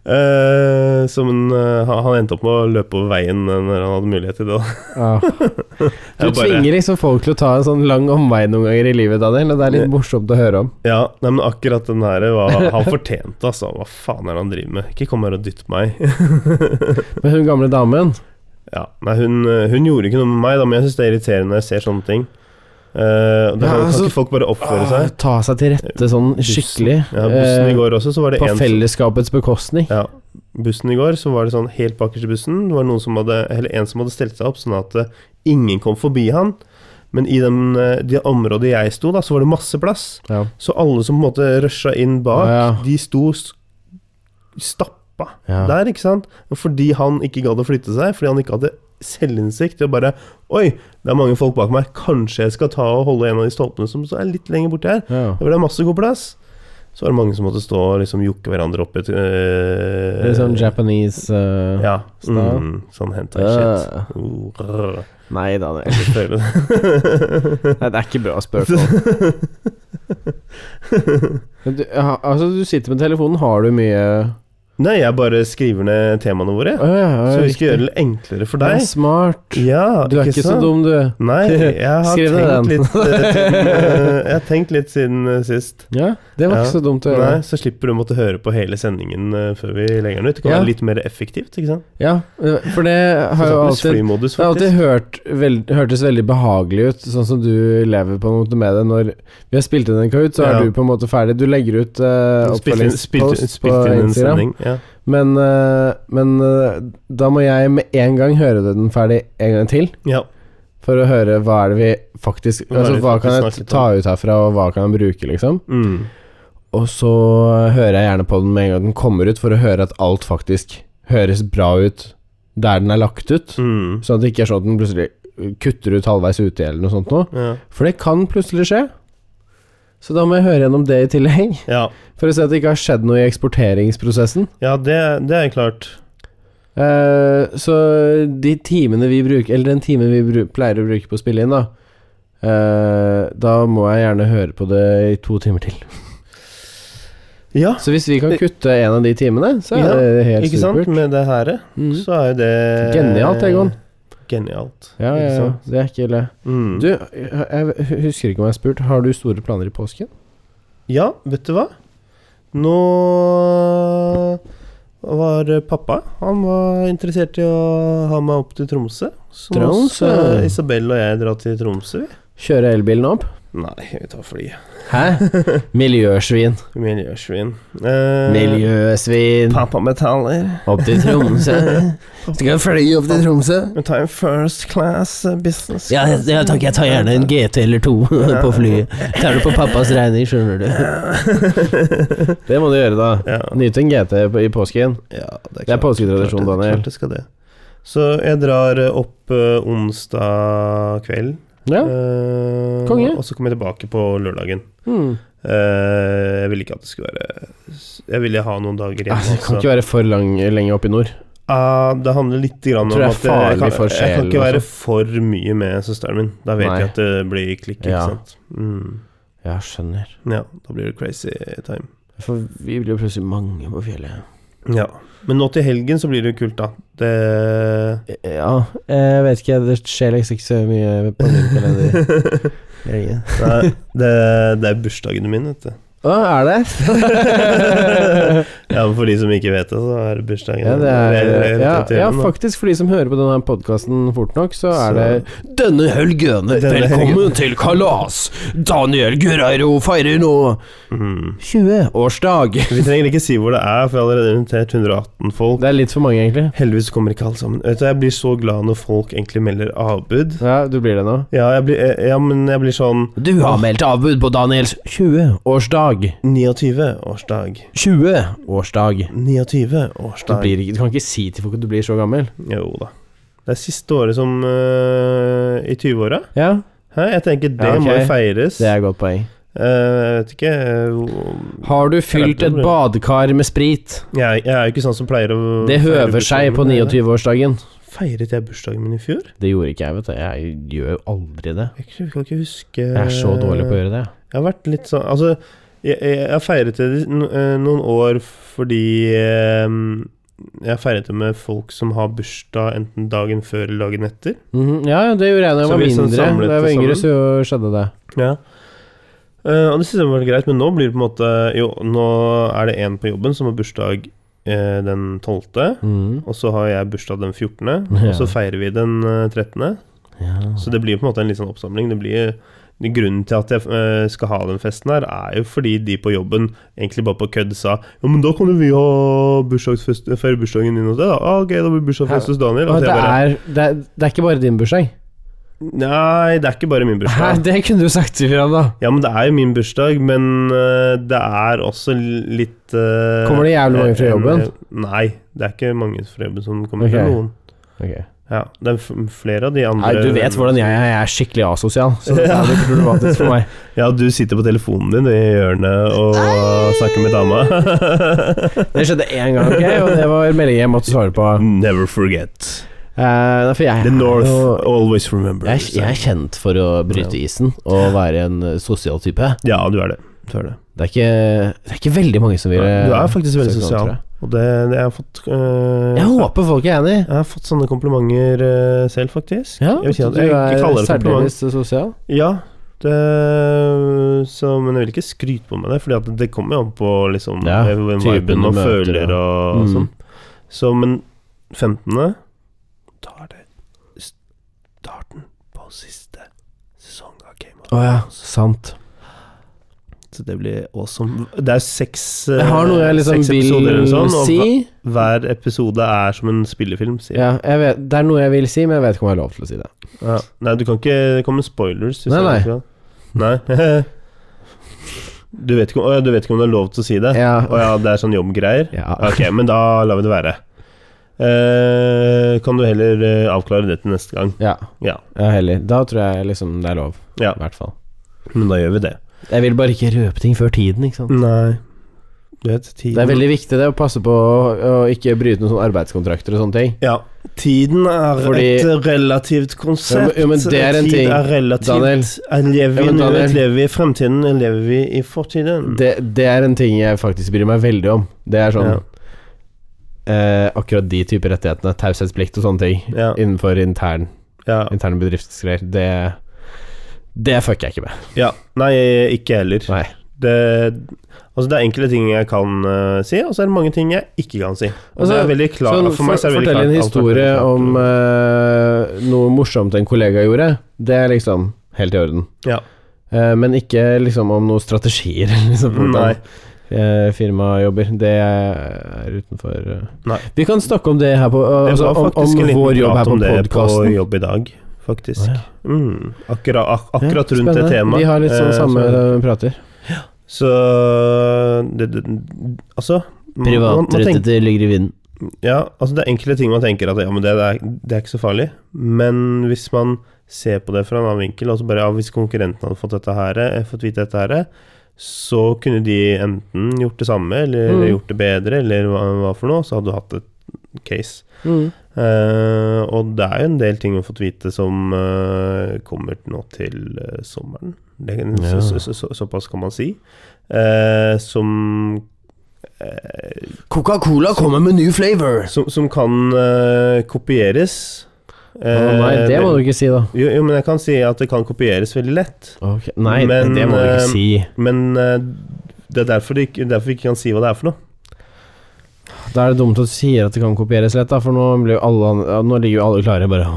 [SPEAKER 1] Eh, så men, eh, han, han endte opp med å løpe over veien eh, når han hadde mulighet til det. da.
[SPEAKER 2] Ja. Du
[SPEAKER 1] Jeg bare-
[SPEAKER 2] tvinger liksom folk til å ta en sånn lang omvei noen ganger i livet, Daniel, og det er litt morsomt å høre om.
[SPEAKER 1] Ja, nei, men akkurat den her var han fortjente, altså. Hva faen er det han driver med? Ikke kom her og dytt meg.
[SPEAKER 2] Men hun gamle damen
[SPEAKER 1] ja, nei, hun, eh, hun gjorde ikke noe med meg, da, men jeg syns det er irriterende når jeg ser sånne ting. Eh, og da
[SPEAKER 2] Ja,
[SPEAKER 1] kan,
[SPEAKER 2] altså-
[SPEAKER 1] kan ikke folk bare oppføre
[SPEAKER 2] ah,
[SPEAKER 1] seg.
[SPEAKER 2] Ta seg til rette sånn skikkelig.
[SPEAKER 1] Ja, bussen i
[SPEAKER 2] eh,
[SPEAKER 1] går også, så var det
[SPEAKER 2] På
[SPEAKER 1] en
[SPEAKER 2] fellesskapets bekostning.
[SPEAKER 1] Ja, bussen i går så var det sånn helt bakerst i bussen. Det var noen som hadde, eller en som hadde stelt seg opp sånn at eh, ingen kom forbi han. Men i den, eh, det området jeg sto, da, så var det masse plass.
[SPEAKER 2] Ja.
[SPEAKER 1] Så alle som på en måte rusha inn bak,
[SPEAKER 2] Ja.
[SPEAKER 1] de sto s- stappa
[SPEAKER 2] Ja.
[SPEAKER 1] der, ikke sant? Og Fordi han ikke gadd å flytte seg, fordi han ikke hadde selvinnsikt til å bare Oi, det er mange folk bak meg, kanskje jeg skal ta og holde en av de stolpene som så er litt lenger borti her.
[SPEAKER 2] Ja.
[SPEAKER 1] Det ble masse god plass. Så var det mange som måtte stå og liksom jokke hverandre opp i et øh,
[SPEAKER 2] Litt sånn Japanese eh,
[SPEAKER 1] Ja.
[SPEAKER 2] style.
[SPEAKER 1] Mm, sånn hentai-shit.
[SPEAKER 2] Øh,
[SPEAKER 1] Uh, rrr.
[SPEAKER 2] Nei, Daniel.
[SPEAKER 1] Jeg føler det.
[SPEAKER 2] Nei, det er ikke bra å spørre folk. Men du, ha- altså, du sitter med telefonen. Har du mye
[SPEAKER 1] Nei, jeg bare skriver ned temaene våre.
[SPEAKER 2] Å, ja, ja,
[SPEAKER 1] Så vi
[SPEAKER 2] riktig.
[SPEAKER 1] skal gjøre det enklere for
[SPEAKER 2] Ja,
[SPEAKER 1] deg.
[SPEAKER 2] Smart.
[SPEAKER 1] Ja,
[SPEAKER 2] Du er ikke så
[SPEAKER 1] sant?
[SPEAKER 2] dum, du.
[SPEAKER 1] Nei, jeg har
[SPEAKER 2] Skriv ned
[SPEAKER 1] tenkt
[SPEAKER 2] den.
[SPEAKER 1] litt eh, siden, eh, Jeg har tenkt litt siden eh, sist.
[SPEAKER 2] Ja, det var
[SPEAKER 1] Ja.
[SPEAKER 2] ikke så dumt å gjøre.
[SPEAKER 1] Nei, Så slipper du å måtte høre på hele sendingen eh, før vi legger den ut. Det kan
[SPEAKER 2] Ja.
[SPEAKER 1] være litt mer effektivt, ikke sant?
[SPEAKER 2] Ja, eh, for det har jo
[SPEAKER 1] Sånn
[SPEAKER 2] alltid
[SPEAKER 1] flymodus,
[SPEAKER 2] det har alltid
[SPEAKER 1] faktisk.
[SPEAKER 2] hørt, veld, hørtes veldig behagelig ut, sånn som du lever på en måte med det. Når vi har spilt inn en Kahoot, så er
[SPEAKER 1] Ja.
[SPEAKER 2] du på en måte ferdig. Du legger ut uh,
[SPEAKER 1] Spilt inn- spilt
[SPEAKER 2] oppfølgingspost på
[SPEAKER 1] spilt inn en
[SPEAKER 2] Instagram.
[SPEAKER 1] sending. Ja.
[SPEAKER 2] Men, eh, men eh, da må jeg med en gang høre den ferdig en gang til.
[SPEAKER 1] Ja.
[SPEAKER 2] For å høre hva er det vi faktisk
[SPEAKER 1] Hva er
[SPEAKER 2] Altså
[SPEAKER 1] det vi
[SPEAKER 2] hva
[SPEAKER 1] faktisk
[SPEAKER 2] kan jeg
[SPEAKER 1] snakket
[SPEAKER 2] ta ut herfra, og hva kan jeg bruke, liksom.
[SPEAKER 1] Mm.
[SPEAKER 2] Og så hører jeg gjerne på den med en gang den kommer ut, for å høre at alt faktisk høres bra ut der den er lagt ut.
[SPEAKER 1] Mm.
[SPEAKER 2] Sånn at det ikke er sånn at den plutselig kutter ut halvveis uti eller noe sånt noe.
[SPEAKER 1] Ja.
[SPEAKER 2] For det kan plutselig skje. Så da må jeg høre gjennom det i tillegg,
[SPEAKER 1] Ja.
[SPEAKER 2] for å se at det ikke har skjedd noe i eksporteringsprosessen.
[SPEAKER 1] ja, det, det er klart.
[SPEAKER 2] Eh, så de timene vi bruker, eller den timen vi bru pleier å bruke på å spille inn, da eh, Da må jeg gjerne høre på det i to timer til.
[SPEAKER 1] Ja,
[SPEAKER 2] Så hvis vi kan kutte en av de timene, så er
[SPEAKER 1] Ja,
[SPEAKER 2] det helt
[SPEAKER 1] ikke sant?
[SPEAKER 2] supert.
[SPEAKER 1] Med det her,
[SPEAKER 2] Mm.
[SPEAKER 1] så er jo det
[SPEAKER 2] Genialt, Egon.
[SPEAKER 1] Genialt.
[SPEAKER 2] Ja, ja,
[SPEAKER 1] ikke
[SPEAKER 2] ja,
[SPEAKER 1] sant?
[SPEAKER 2] det er ikke ille.
[SPEAKER 1] Mm.
[SPEAKER 2] Du, jeg jeg husker ikke om jeg har spurt, har du store planer i påsken?
[SPEAKER 1] Ja, vet du hva? Nå var pappa Han var interessert i å ha meg opp til Tromsø. Så nå
[SPEAKER 2] Tromsø?
[SPEAKER 1] skal Isabel og jeg dra til Tromsø, vi.
[SPEAKER 2] Kjøre elbilen opp?
[SPEAKER 1] Nei, vi tar flyet.
[SPEAKER 2] Hæ? Miljøsvin.
[SPEAKER 1] Miljøsvin. Eh,
[SPEAKER 2] Miljøsvin.
[SPEAKER 1] Pappa betaler.
[SPEAKER 2] Opp til Tromsø. Skal jeg fly opp til Tromsø?
[SPEAKER 1] Vi tar en first class eh, business.
[SPEAKER 2] Ja,
[SPEAKER 1] class.
[SPEAKER 2] ja takk, jeg tar gjerne en GT eller to på flyet. Tar det på pappas regning, skjønner du. Det må du gjøre, da.
[SPEAKER 1] Ja.
[SPEAKER 2] Nyt en GT på- i påsken.
[SPEAKER 1] Ja,
[SPEAKER 2] Det er
[SPEAKER 1] klart-
[SPEAKER 2] påsketradisjon,
[SPEAKER 1] klart det-
[SPEAKER 2] Daniel.
[SPEAKER 1] Klart det skal det. Så jeg drar eh, opp eh, onsdag kveld.
[SPEAKER 2] Ja.
[SPEAKER 1] eh,
[SPEAKER 2] konge.
[SPEAKER 1] Og så kommer jeg tilbake på lørdagen.
[SPEAKER 2] Hmm.
[SPEAKER 1] Eh, jeg ville ikke at det skulle være Jeg ville ha noen dager
[SPEAKER 2] Ah,
[SPEAKER 1] hjemme.
[SPEAKER 2] Det kan
[SPEAKER 1] også.
[SPEAKER 2] ikke være for lang, lenge oppe i nord.
[SPEAKER 1] Ah, det handler litt grann om
[SPEAKER 2] Tror jeg
[SPEAKER 1] at
[SPEAKER 2] er
[SPEAKER 1] jeg kan,
[SPEAKER 2] farlig for
[SPEAKER 1] jeg kan
[SPEAKER 2] sjelen
[SPEAKER 1] ikke være
[SPEAKER 2] også.
[SPEAKER 1] for mye med søsteren min. Da vet
[SPEAKER 2] Nei.
[SPEAKER 1] jeg at det blir klikk, ikke
[SPEAKER 2] Ja.
[SPEAKER 1] sant. Mm.
[SPEAKER 2] Ja, skjønner.
[SPEAKER 1] Ja, da blir det crazy time.
[SPEAKER 2] For vi blir jo plutselig mange på fjellet.
[SPEAKER 1] Ja. Men nå til helgen så blir det jo kult, da. Det
[SPEAKER 2] Ja, jeg vet ikke. Det skjer liksom ikke så mye på min kalender.
[SPEAKER 1] Nei, det, det er bursdagen min, vet du.
[SPEAKER 2] Å, er det?
[SPEAKER 1] Ja, for de som ikke vet det, så er det bursdagen.
[SPEAKER 2] Ja, det er,
[SPEAKER 1] Eller- eller-
[SPEAKER 2] ja,
[SPEAKER 1] til
[SPEAKER 2] ja,
[SPEAKER 1] den, da.
[SPEAKER 2] faktisk for de som hører på denne podkasten fort nok, så er
[SPEAKER 1] Så-
[SPEAKER 2] det Denne helgen,
[SPEAKER 1] Denne helgen.
[SPEAKER 2] til kalas! Daniel Guerreiro feirer nå
[SPEAKER 1] Mhm.
[SPEAKER 2] 20-årsdag!
[SPEAKER 1] Vi trenger ikke si hvor det er, for jeg har allerede invitert 118 folk.
[SPEAKER 2] Det er litt for mange, egentlig.
[SPEAKER 1] Heldigvis kommer ikke alle sammen. Vet du, Jeg blir så glad når folk egentlig melder avbud.
[SPEAKER 2] Ja, du blir det nå.
[SPEAKER 1] Ja, jeg blir, eh, ja men jeg blir sånn
[SPEAKER 2] Du har meldt avbud på Daniels 20-årsdag.
[SPEAKER 1] 29-årsdag.
[SPEAKER 2] 20-årsdag. Du,
[SPEAKER 1] 29-årsdag.
[SPEAKER 2] blir, ikke- du kan ikke si til folk at du blir så gammel.
[SPEAKER 1] Jo da. Det er siste året som eh, I 20-åra.
[SPEAKER 2] Ja,
[SPEAKER 1] Hæ? Jeg tenker det
[SPEAKER 2] Ja, ok.
[SPEAKER 1] må jo feires.
[SPEAKER 2] det er et godt poeng.
[SPEAKER 1] Eh, jeg vet ikke eh, hvor-
[SPEAKER 2] Har du fylt et badekar med sprit?
[SPEAKER 1] Jeg, jeg er jo ikke sånn som pleier å
[SPEAKER 2] Det
[SPEAKER 1] feire
[SPEAKER 2] høver seg
[SPEAKER 1] bursdagen
[SPEAKER 2] på
[SPEAKER 1] min, jeg er det.
[SPEAKER 2] 29-årsdagen.
[SPEAKER 1] Feiret jeg bursdagen min i fjor?
[SPEAKER 2] Det gjorde ikke jeg, vet du. Jeg gjør jo aldri det.
[SPEAKER 1] Jeg kan ikke huske
[SPEAKER 2] Jeg er så dårlig på å gjøre det.
[SPEAKER 1] Jeg har vært litt sånn Altså, jeg, jeg, jeg feiret det de- no- eh, noen år fordi eh, jeg feiret det med folk som har bursdag enten dagen før eller dagen etter.
[SPEAKER 2] Mhm, ja, ja, det gjorde jeg da jeg
[SPEAKER 1] Så
[SPEAKER 2] var
[SPEAKER 1] vi sånn
[SPEAKER 2] mindre.
[SPEAKER 1] samlet
[SPEAKER 2] Da jeg var yngre,
[SPEAKER 1] sammen?
[SPEAKER 2] så skjedde det.
[SPEAKER 1] Ja. Eh, og det synes jeg var greit, men nå blir det på en måte Jo, nå er det en på jobben som har bursdag eh, den 12.,
[SPEAKER 2] Mhm.
[SPEAKER 1] og så har jeg bursdag den 14.,
[SPEAKER 2] Ja.
[SPEAKER 1] og så feirer vi den eh, 13.
[SPEAKER 2] Ja.
[SPEAKER 1] Så det blir på en måte en litt sånn oppsamling. Det blir Grunnen til at jeg eh, skal ha den festen her, er jo fordi de på jobben egentlig bare på kødd sa Ja, men da kan jo vi ha bursdagsfest feire bursdagen din hos deg, da. Ah, ok, da blir det bursdagsfest hos Daniel.
[SPEAKER 2] Å,
[SPEAKER 1] Og så
[SPEAKER 2] det,
[SPEAKER 1] jeg bare
[SPEAKER 2] er, det, er, det er ikke bare din bursdag.
[SPEAKER 1] Nei, det er ikke bare min
[SPEAKER 2] Hæ,
[SPEAKER 1] bursdag.
[SPEAKER 2] det kunne du sagt ifra, da.
[SPEAKER 1] Ja, men det er jo min bursdag, men eh, det er også litt eh,
[SPEAKER 2] Kommer det jævlig mange fra
[SPEAKER 1] eh, en-
[SPEAKER 2] jobben?
[SPEAKER 1] Nei, det er ikke mange fra jobben som kommer.
[SPEAKER 2] Ok.
[SPEAKER 1] Det er noen.
[SPEAKER 2] Ok.
[SPEAKER 1] Ja, det er f- flere av de andre
[SPEAKER 2] Nei, du vet hvordan jeg er. Jeg er skikkelig asosial. Så det er litt problematisk for meg.
[SPEAKER 1] Ja, du sitter på telefonen din i hjørnet og snakker med dama.
[SPEAKER 2] Det skjedde én gang, ok? og det var melding jeg måtte svare på.
[SPEAKER 1] Never forget.
[SPEAKER 2] Eh, for jeg,
[SPEAKER 1] The North
[SPEAKER 2] og-
[SPEAKER 1] always remembers.
[SPEAKER 2] jeg, er- jeg er kjent for å bryte isen og være en eh, sosial type.
[SPEAKER 1] Ja, du er det. Du er, det.
[SPEAKER 2] Det er ikke, det er ikke veldig mange som vil eh,
[SPEAKER 1] du er faktisk veldig
[SPEAKER 2] søke om,
[SPEAKER 1] sosial.
[SPEAKER 2] tror jeg.
[SPEAKER 1] Og det, det jeg har fått øh,
[SPEAKER 2] Jeg håper folk er enig.
[SPEAKER 1] jeg har fått sånne komplimenter øh, selv, faktisk.
[SPEAKER 2] Ja,
[SPEAKER 1] jeg, vil si at
[SPEAKER 2] du
[SPEAKER 1] jeg, jeg
[SPEAKER 2] er
[SPEAKER 1] kaller det kompliment.
[SPEAKER 2] særdeles sosial.
[SPEAKER 1] Ja, det, så, men jeg vil ikke skryte på meg det, Fordi at det kommer jo an på liksom,
[SPEAKER 2] Ja,
[SPEAKER 1] eh, hvem
[SPEAKER 2] typen
[SPEAKER 1] viben
[SPEAKER 2] du
[SPEAKER 1] man
[SPEAKER 2] møter,
[SPEAKER 1] føler
[SPEAKER 2] ja.
[SPEAKER 1] og
[SPEAKER 2] Mm.
[SPEAKER 1] sånn. Så, men 15. Da er det starten på siste sesong av Game of
[SPEAKER 2] Å ja, sant.
[SPEAKER 1] Så det blir awesome. Det er seks, eh,
[SPEAKER 2] Jeg har noe jeg liksom
[SPEAKER 1] seks episoder eller
[SPEAKER 2] vil
[SPEAKER 1] noe sånt, og
[SPEAKER 2] si.
[SPEAKER 1] hva- hver episode er som en spillefilm, sier
[SPEAKER 2] Ja, jeg vet, det er noe jeg vil si, men jeg vet ikke om jeg har lov til å si det.
[SPEAKER 1] Ja. Nei, du kan ikke komme med spoilers. hvis
[SPEAKER 2] Nei,
[SPEAKER 1] jeg- Nei. Du vet, ikke om, å, ja, du vet ikke om det er lov til å si det?
[SPEAKER 2] Ja.
[SPEAKER 1] Å ja, det er sånn jobbgreier?
[SPEAKER 2] Ja.
[SPEAKER 1] Ok, men da lar vi det være. Eh, kan du heller eh, avklare det til neste gang?
[SPEAKER 2] Ja,
[SPEAKER 1] Ja.
[SPEAKER 2] ja heller. Da tror jeg liksom det er lov,
[SPEAKER 1] Ja.
[SPEAKER 2] i hvert fall.
[SPEAKER 1] Men da gjør vi det.
[SPEAKER 2] Jeg vil bare ikke røpe ting før tiden, ikke sant.
[SPEAKER 1] Nei. Du vet, tiden
[SPEAKER 2] Det er veldig viktig det å passe på å, å ikke bryte noen sånne arbeidskontrakter og sånne ting.
[SPEAKER 1] Ja. Tiden er
[SPEAKER 2] Fordi-
[SPEAKER 1] et relativt konsept.
[SPEAKER 2] Jo, men- jo, men det er en
[SPEAKER 1] Tid
[SPEAKER 2] ting,
[SPEAKER 1] er relativt.
[SPEAKER 2] Daniel.
[SPEAKER 1] Er lever vi
[SPEAKER 2] Jo,
[SPEAKER 1] i
[SPEAKER 2] men Daniel.
[SPEAKER 1] nuet, lever vi i fremtiden, lever vi i fortiden?
[SPEAKER 2] Det, det er en ting jeg faktisk bryr meg veldig om. Det er sånn
[SPEAKER 1] Ja.
[SPEAKER 2] eh, Akkurat de typer rettighetene, taushetsplikt og sånne ting,
[SPEAKER 1] Ja.
[SPEAKER 2] innenfor intern,
[SPEAKER 1] Ja.
[SPEAKER 2] interne bedriftsgreier, det Det fucker jeg ikke med.
[SPEAKER 1] ja. Nei, ikke heller.
[SPEAKER 2] Nei.
[SPEAKER 1] Det, altså det er enkelte ting jeg kan eh, si, og så er det mange ting jeg ikke kan si. Og
[SPEAKER 2] Altså,
[SPEAKER 1] det er veldig klart
[SPEAKER 2] Sånn,
[SPEAKER 1] For meg så er det veldig
[SPEAKER 2] fortell
[SPEAKER 1] klart.
[SPEAKER 2] en
[SPEAKER 1] alt er veldig
[SPEAKER 2] historie
[SPEAKER 1] klart.
[SPEAKER 2] om eh, noe morsomt en kollega gjorde. Det er liksom helt i orden.
[SPEAKER 1] Ja.
[SPEAKER 2] Eh, men ikke liksom om noen strategier eller liksom, hvordan
[SPEAKER 1] Nei.
[SPEAKER 2] eh, firmaet jobber. Det er utenfor eh.
[SPEAKER 1] Nei.
[SPEAKER 2] Vi kan snakke om det her på eh,
[SPEAKER 1] Det
[SPEAKER 2] altså,
[SPEAKER 1] var
[SPEAKER 2] om,
[SPEAKER 1] faktisk en
[SPEAKER 2] om
[SPEAKER 1] liten
[SPEAKER 2] vår jobb
[SPEAKER 1] prat
[SPEAKER 2] her
[SPEAKER 1] om
[SPEAKER 2] på
[SPEAKER 1] det på
[SPEAKER 2] podkasten.
[SPEAKER 1] jobb i dag, faktisk.
[SPEAKER 2] Å, ja.
[SPEAKER 1] mm. Akkurat, ak akkurat
[SPEAKER 2] Ja,
[SPEAKER 1] rundt det
[SPEAKER 2] spennende.
[SPEAKER 1] temaet.
[SPEAKER 2] Vi har litt sånn
[SPEAKER 1] Eh,
[SPEAKER 2] samme
[SPEAKER 1] så-
[SPEAKER 2] eh, prater.
[SPEAKER 1] Så det, det, Altså man- man- man tenker-
[SPEAKER 2] Privatrettete ligger i vinden.
[SPEAKER 1] Ja, altså det er enkle ting man tenker at ja, men det, det, er, det er ikke så farlig. Men hvis man ser på det fra en annen vinkel, og så bare ja, hvis konkurrenten hadde fått, dette her, eh, fått vite dette her, så kunne de enten gjort det samme, eller
[SPEAKER 2] Mm.
[SPEAKER 1] gjort det bedre, eller hva, hva for noe, så hadde du hatt et case.
[SPEAKER 2] Mm.
[SPEAKER 1] Eh, og det er jo en del ting vi har fått vite som eh, kommer nå til eh, sommeren. Det, kan-
[SPEAKER 2] Ja.
[SPEAKER 1] så, så, så, såpass kan man si. Eh, som eh,
[SPEAKER 2] Coca-Cola kommer med new flavor!
[SPEAKER 1] som, som kan eh, kopieres.
[SPEAKER 2] Å nei,
[SPEAKER 1] Eh,
[SPEAKER 2] det må du ikke si, da.
[SPEAKER 1] jo, jo, men jeg kan si at det kan kopieres veldig lett.
[SPEAKER 2] Ok, Nei,
[SPEAKER 1] Men,
[SPEAKER 2] det må du
[SPEAKER 1] eh,
[SPEAKER 2] ikke si.
[SPEAKER 1] Men eh, det er derfor, det ikke, derfor vi ikke kan si hva det er for noe.
[SPEAKER 2] Da er det dumt at du sier at det kan kopieres lett, da, for nå, blir jo alle, an- ja, nå ligger jo alle klare. Bare,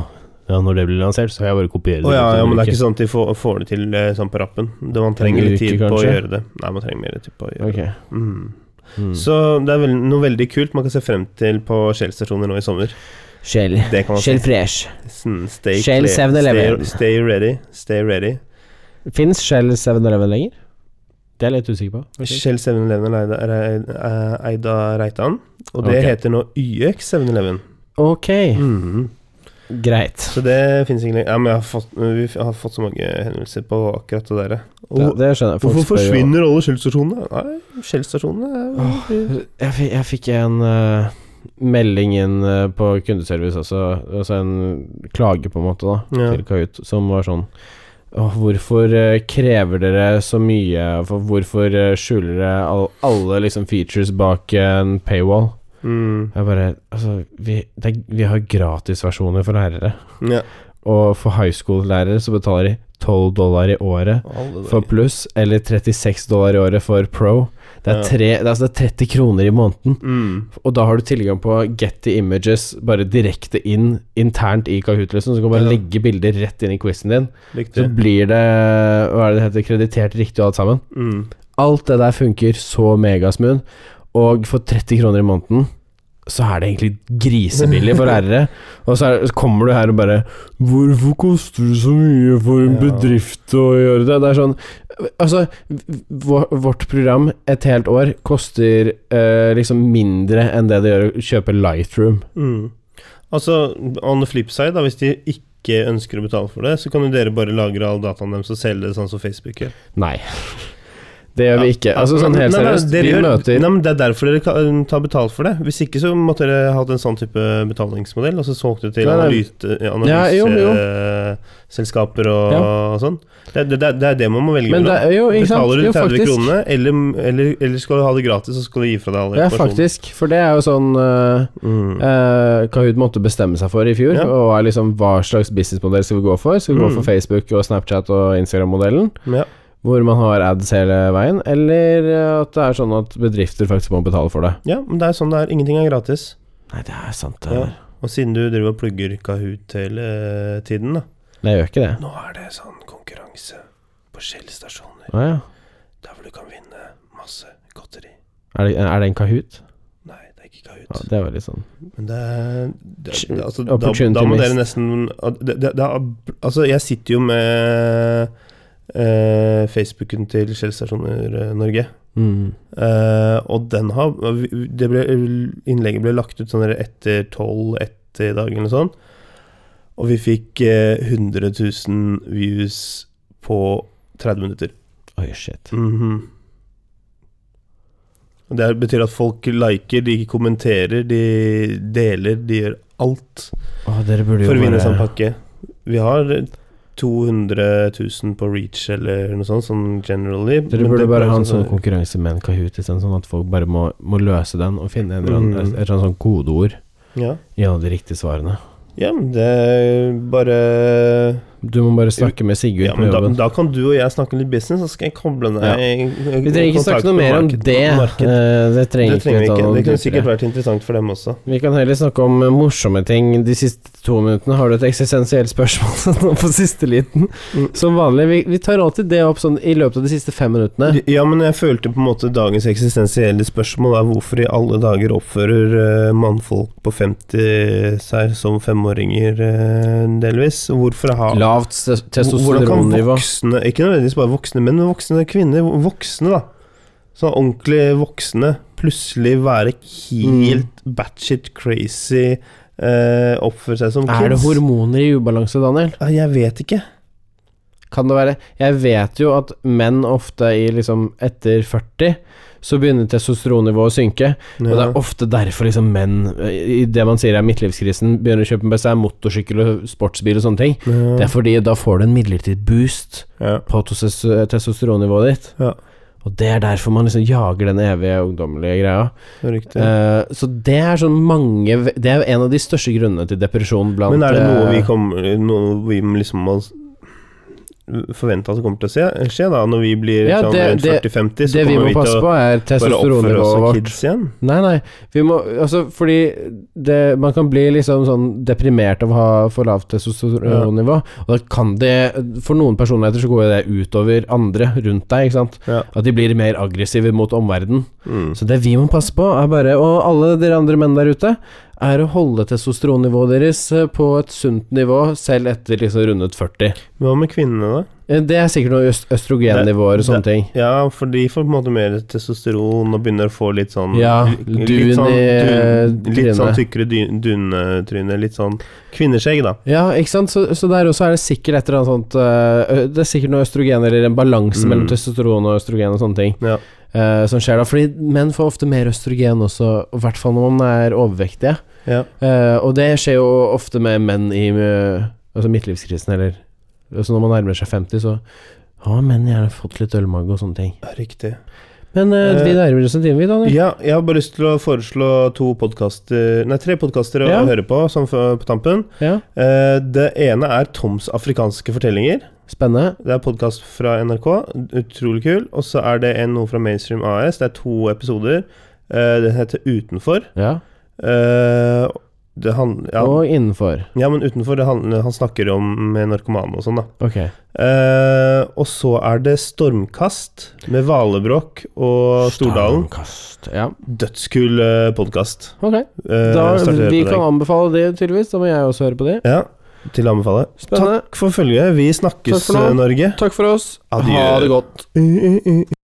[SPEAKER 2] ja, når det blir lansert, så kan jeg bare kopiere
[SPEAKER 1] Å ja,
[SPEAKER 2] ut og
[SPEAKER 1] ja, men det er
[SPEAKER 2] bruke.
[SPEAKER 1] ikke sånn at de får, får det til eh, sånn på rappen. Det, man
[SPEAKER 2] En
[SPEAKER 1] trenger litt
[SPEAKER 2] uke,
[SPEAKER 1] tid på å
[SPEAKER 2] kanskje?
[SPEAKER 1] gjøre det. Nei, man trenger mer tid på å gjøre
[SPEAKER 2] Ok.
[SPEAKER 1] det. Mm.
[SPEAKER 2] Mm.
[SPEAKER 1] Så det er vel, noe veldig kult man kan se frem til på Shell-stasjoner nå i sommer.
[SPEAKER 2] Shell.
[SPEAKER 1] Det kan man
[SPEAKER 2] Shell
[SPEAKER 1] si.
[SPEAKER 2] Fresh.
[SPEAKER 1] Sånn, Stay,
[SPEAKER 2] Shell
[SPEAKER 1] clear.
[SPEAKER 2] 7-Eleven.
[SPEAKER 1] stay, stay ready. Stay ready.
[SPEAKER 2] Fins Shell 7-Eleven lenger? Det er jeg litt usikker på. faktisk.
[SPEAKER 1] Shell 7-Eleven er eid- er er eid av Reitan, og det
[SPEAKER 2] Ok.
[SPEAKER 1] heter nå YX 7-Eleven.
[SPEAKER 2] Ok,
[SPEAKER 1] Mhm.
[SPEAKER 2] Mm. greit.
[SPEAKER 1] Så det finnes ikke lenger. Ja, men jeg har fått, vi har fått så mange henvendelser på akkurat det der. Og,
[SPEAKER 2] Ja, det skjønner jeg. Folk
[SPEAKER 1] hvorfor
[SPEAKER 2] spør jo-
[SPEAKER 1] forsvinner alle Shell-stasjonene? Nei, Shell-stasjonene er
[SPEAKER 2] Jeg, fikk- jeg fikk en eh, melding inn eh, på kundeservice også, altså en klage på en måte, da,
[SPEAKER 1] Ja.
[SPEAKER 2] til Kahoot, som var sånn Åh, hvorfor eh, krever dere så mye? For hvorfor eh, skjuler dere all, alle liksom features bak en paywall?
[SPEAKER 1] Mm.
[SPEAKER 2] Jeg bare Altså, vi, det er, vi har gratisversjoner for lærere.
[SPEAKER 1] Ja.
[SPEAKER 2] Og for high school-lærere så betaler de 12 dollar i året
[SPEAKER 1] Alle
[SPEAKER 2] for
[SPEAKER 1] dager.
[SPEAKER 2] pluss, eller 36 dollar i året for pro. Det
[SPEAKER 1] Ja.
[SPEAKER 2] er, tre, det er, altså det er 30 kroner i måneden,
[SPEAKER 1] Mm.
[SPEAKER 2] og da har du tilgang på Getty Images bare direkte inn internt i Kahoot. Liksom. Så du kan bare
[SPEAKER 1] Ja.
[SPEAKER 2] legge bilder rett inn i quizen din. Så
[SPEAKER 1] Riktig.
[SPEAKER 2] blir det hva er det det heter, kreditert riktig og alt sammen.
[SPEAKER 1] Mm.
[SPEAKER 2] Alt det der funker så megasmooth, og for 30 kroner i måneden så er det egentlig grisebillig for lærere. Og så, er, så kommer du her og bare 'Hvorfor koster det så mye for en
[SPEAKER 1] Ja.
[SPEAKER 2] bedrift å gjøre det?' Det er sånn Altså, vår- vårt program et helt år koster eh, liksom mindre enn det det gjør å kjøpe Lightroom.
[SPEAKER 1] Mm. Altså, on the flip side, da, hvis de ikke ønsker å betale for det, så kan jo dere bare lagre all dataen deres og selge det sånn som Facebook gjør.
[SPEAKER 2] Nei. Det gjør vi ikke. Altså sånn helt
[SPEAKER 1] Nei, nei,
[SPEAKER 2] seriøst,
[SPEAKER 1] dere
[SPEAKER 2] vi
[SPEAKER 1] gjør-
[SPEAKER 2] møter
[SPEAKER 1] Nei, men Det er derfor dere kan- tar betalt for det. Hvis ikke så måtte dere hatt en sånn type betalingsmodell, og så solgt det til
[SPEAKER 2] Nei, nei. Ja, jo, jo.
[SPEAKER 1] analyseselskaper og, og sånn. Det, det, det, det er det man må velge
[SPEAKER 2] Men det
[SPEAKER 1] mellom.
[SPEAKER 2] er jo, ikke sant?
[SPEAKER 1] Betaler du
[SPEAKER 2] Jo,
[SPEAKER 1] 30
[SPEAKER 2] faktisk.
[SPEAKER 1] kronene, eller, eller, eller skal du ha det gratis, så skal du gi fra deg all
[SPEAKER 2] Ja,
[SPEAKER 1] informasjonen.
[SPEAKER 2] faktisk. For det er jo sånn eh,
[SPEAKER 1] Mm.
[SPEAKER 2] Eh, Kahoot måtte bestemme seg for i fjor,
[SPEAKER 1] Ja.
[SPEAKER 2] og er liksom hva slags businessmodell skal vi gå for. Skal vi gå
[SPEAKER 1] Mm.
[SPEAKER 2] for Facebook og Snapchat og Instagram-modellen,
[SPEAKER 1] Ja.
[SPEAKER 2] hvor man har ads hele veien, eller eh, at det er sånn at bedrifter faktisk må betale for det?
[SPEAKER 1] ja, men det er sånn det er. Ingenting er gratis.
[SPEAKER 2] Nei, det er sant.
[SPEAKER 1] det Ja. der. Og siden du driver og plugger Kahoot hele eh, tiden, da.
[SPEAKER 2] Nei, jeg gjør ikke det.
[SPEAKER 1] Nå er det sånn konkurranse på Shell-stasjoner,
[SPEAKER 2] Å, ja.
[SPEAKER 1] der hvor du kan vinne masse godteri.
[SPEAKER 2] er, det, er det en Kahoot?
[SPEAKER 1] Nei, det er ikke
[SPEAKER 2] Ja,
[SPEAKER 1] Kahoot.
[SPEAKER 2] det var litt sånn
[SPEAKER 1] Men det er det, det, altså, da,
[SPEAKER 2] Opportunity
[SPEAKER 1] da må
[SPEAKER 2] missed.
[SPEAKER 1] dere nesten det, det, det, er- Altså, jeg sitter jo med eh, Facebooken til Shell-stasjoner eh, Norge.
[SPEAKER 2] mm.
[SPEAKER 1] Eh, og den har det ble, Innlegget ble lagt ut sånn der etter tolv, etter dagen eller sånn. Og vi fikk eh, 100 000 views på 30 minutter.
[SPEAKER 2] Oi, shit.
[SPEAKER 1] Mhm. Og Det er- betyr at folk liker, de kommenterer, de deler, de gjør alt
[SPEAKER 2] Å, dere burde jo
[SPEAKER 1] for å vinne
[SPEAKER 2] bare
[SPEAKER 1] sånn pakke. Vi har 200 000 på reach eller noe sånt, sånn generally.
[SPEAKER 2] Dere
[SPEAKER 1] men
[SPEAKER 2] burde
[SPEAKER 1] det
[SPEAKER 2] bare
[SPEAKER 1] er
[SPEAKER 2] ha en
[SPEAKER 1] sånn-
[SPEAKER 2] sånn konkurranse med en Kahoot, i stedet, sånn at folk bare må, må løse den og finne en eller annen,
[SPEAKER 1] Mm.
[SPEAKER 2] et eller annet sånn kodeord
[SPEAKER 1] Ja.
[SPEAKER 2] gjennom de riktige svarene.
[SPEAKER 1] ja, men det er bare
[SPEAKER 2] Du må bare snakke med Sigurd
[SPEAKER 1] Ja,
[SPEAKER 2] på
[SPEAKER 1] men da,
[SPEAKER 2] jobben.
[SPEAKER 1] da kan du og jeg snakke litt business, så skal jeg koble deg
[SPEAKER 2] Ja. vi trenger ikke snakke noe mer om det. Eh, Det trenger,
[SPEAKER 1] Det trenger vi
[SPEAKER 2] ta
[SPEAKER 1] ikke.
[SPEAKER 2] noe
[SPEAKER 1] Det kunne
[SPEAKER 2] dypere.
[SPEAKER 1] sikkert vært interessant for dem også.
[SPEAKER 2] Vi kan heller snakke om eh, morsomme ting de siste to minuttene. Har du et eksistensielt spørsmål nå på siste liten?
[SPEAKER 1] Mm.
[SPEAKER 2] Som vanlig. Vi, vi tar alltid det opp sånn i løpet av de siste fem minuttene.
[SPEAKER 1] Ja, men jeg følte på en måte dagens eksistensielle spørsmål er hvorfor i alle dager oppfører eh, mannfolk på 50 seg som femåringer eh, delvis? Hvorfor har
[SPEAKER 2] Lavt tes-
[SPEAKER 1] Hvordan kan
[SPEAKER 2] testosteronnivå.
[SPEAKER 1] voksne, ikke nødvendigvis bare voksne, men voksne kvinner, voksne da, sånn ordentlig voksne, plutselig være helt
[SPEAKER 2] Mm.
[SPEAKER 1] batshit crazy, eh, oppføre seg som
[SPEAKER 2] Er det
[SPEAKER 1] kids?
[SPEAKER 2] hormoner i ubalanse, Daniel?
[SPEAKER 1] Ja, Jeg vet ikke.
[SPEAKER 2] Kan det være Jeg vet jo at menn ofte i liksom etter 40 så begynner testosteronnivået å synke. Og det
[SPEAKER 1] Ja.
[SPEAKER 2] er ofte derfor liksom menn eh, i det man sier er midtlivskrisen, begynner å kjøpe med seg motorsykkel og sportsbil og sånne ting. Det
[SPEAKER 1] Ja.
[SPEAKER 2] er fordi da får du en midlertidig boost
[SPEAKER 1] Ja.
[SPEAKER 2] på tos- testosteronnivået ditt.
[SPEAKER 1] Ja.
[SPEAKER 2] Og det er derfor man liksom jager den evige ungdommelige greia.
[SPEAKER 1] det er riktig.
[SPEAKER 2] Eh, så det er sånn mange ve- Det er jo en av de største grunnene til depresjon blant
[SPEAKER 1] Men er det noe vi
[SPEAKER 2] eh,
[SPEAKER 1] kommer Noe vi liksom må s- forvente at det kommer til å se- skje, da? Når vi blir
[SPEAKER 2] Ja,
[SPEAKER 1] sånn
[SPEAKER 2] det-
[SPEAKER 1] rundt
[SPEAKER 2] det-
[SPEAKER 1] 40-50, så
[SPEAKER 2] Det vi
[SPEAKER 1] kommer
[SPEAKER 2] må
[SPEAKER 1] vi
[SPEAKER 2] passe
[SPEAKER 1] til å
[SPEAKER 2] på, er
[SPEAKER 1] bare oppføre oss
[SPEAKER 2] testosteronnivået
[SPEAKER 1] som
[SPEAKER 2] vårt.
[SPEAKER 1] kids igjen?
[SPEAKER 2] Nei, nei. Vi må Altså, fordi det, man kan bli liksom sånn deprimert av å ha for lavt testosteronnivå. Og da kan det For noen personligheter så går jo det utover andre rundt deg, ikke sant.
[SPEAKER 1] Ja.
[SPEAKER 2] At de blir mer aggressive mot omverdenen.
[SPEAKER 1] Mm.
[SPEAKER 2] Så det vi må passe på, er bare Og alle dere andre menn der ute, er å holde testosteronnivået deres eh, på et sunt nivå selv etter liksom rundet 40.
[SPEAKER 1] Hva med kvinnene, da?
[SPEAKER 2] Eh, Det er sikkert noen øst østrogennivåer og sånne ting.
[SPEAKER 1] Ja, for de får på en måte mer testosteron og begynner å få litt sånn
[SPEAKER 2] Ja,
[SPEAKER 1] li-
[SPEAKER 2] dun i,
[SPEAKER 1] dun-
[SPEAKER 2] eh,
[SPEAKER 1] Litt sånn
[SPEAKER 2] trynet.
[SPEAKER 1] tykkere dy- dunetryne. Litt sånn kvinneskjegg, da.
[SPEAKER 2] Ja, ikke sant? Så, så der også er det sikkert et eller eh, annet sånt øh, Det er sikkert noe østrogen eller en balanse
[SPEAKER 1] Mm.
[SPEAKER 2] mellom testosteron og østrogen og sånne ting. Eh,
[SPEAKER 1] Ja.
[SPEAKER 2] eh, som skjer da. Fordi menn får ofte mer østrogen også, og i hvert fall når man er overvektige.
[SPEAKER 1] Ja.
[SPEAKER 2] Eh, og det skjer jo ofte med menn i eh, altså midtlivskrisen, eller altså Når man nærmer seg 50, så har menn gjerne fått litt ølmage og sånne ting.
[SPEAKER 1] Riktig.
[SPEAKER 2] Men eh, vi
[SPEAKER 1] Eh,
[SPEAKER 2] nærmer oss en time, vi, Daniel.
[SPEAKER 1] Ja, jeg har bare lyst til å foreslå to podkaster Nei, tre podkaster å
[SPEAKER 2] Ja.
[SPEAKER 1] høre på sånn for- på tampen.
[SPEAKER 2] Ja.
[SPEAKER 1] Eh, det ene er Toms afrikanske fortellinger.
[SPEAKER 2] Spennende.
[SPEAKER 1] Det er podkast fra NRK. Utrolig kul. Og så er det en noe fra Mainstream AS. Det er to episoder. Eh, den heter Utenfor.
[SPEAKER 2] Ja.
[SPEAKER 1] Eh, det han, ja,
[SPEAKER 2] Og innenfor.
[SPEAKER 1] ja, men utenfor det han, han snakker om med narkomane og sånn, da.
[SPEAKER 2] Ok.
[SPEAKER 1] Eh, og så er det Stormkast med Valebråk og Stordalen.
[SPEAKER 2] Stormkast. Ja.
[SPEAKER 1] Dødskul eh, podkast.
[SPEAKER 2] Ok.
[SPEAKER 1] Eh,
[SPEAKER 2] Da, vi kan anbefale det, tydeligvis. Da må jeg også høre på det.
[SPEAKER 1] Ja, til å anbefale.
[SPEAKER 2] Spennende.
[SPEAKER 1] Takk for følget. Vi snakkes, eh,
[SPEAKER 2] Takk for nå. Mm,
[SPEAKER 1] Norge.
[SPEAKER 2] Takk for oss.
[SPEAKER 1] Adjø.
[SPEAKER 2] Ha det godt.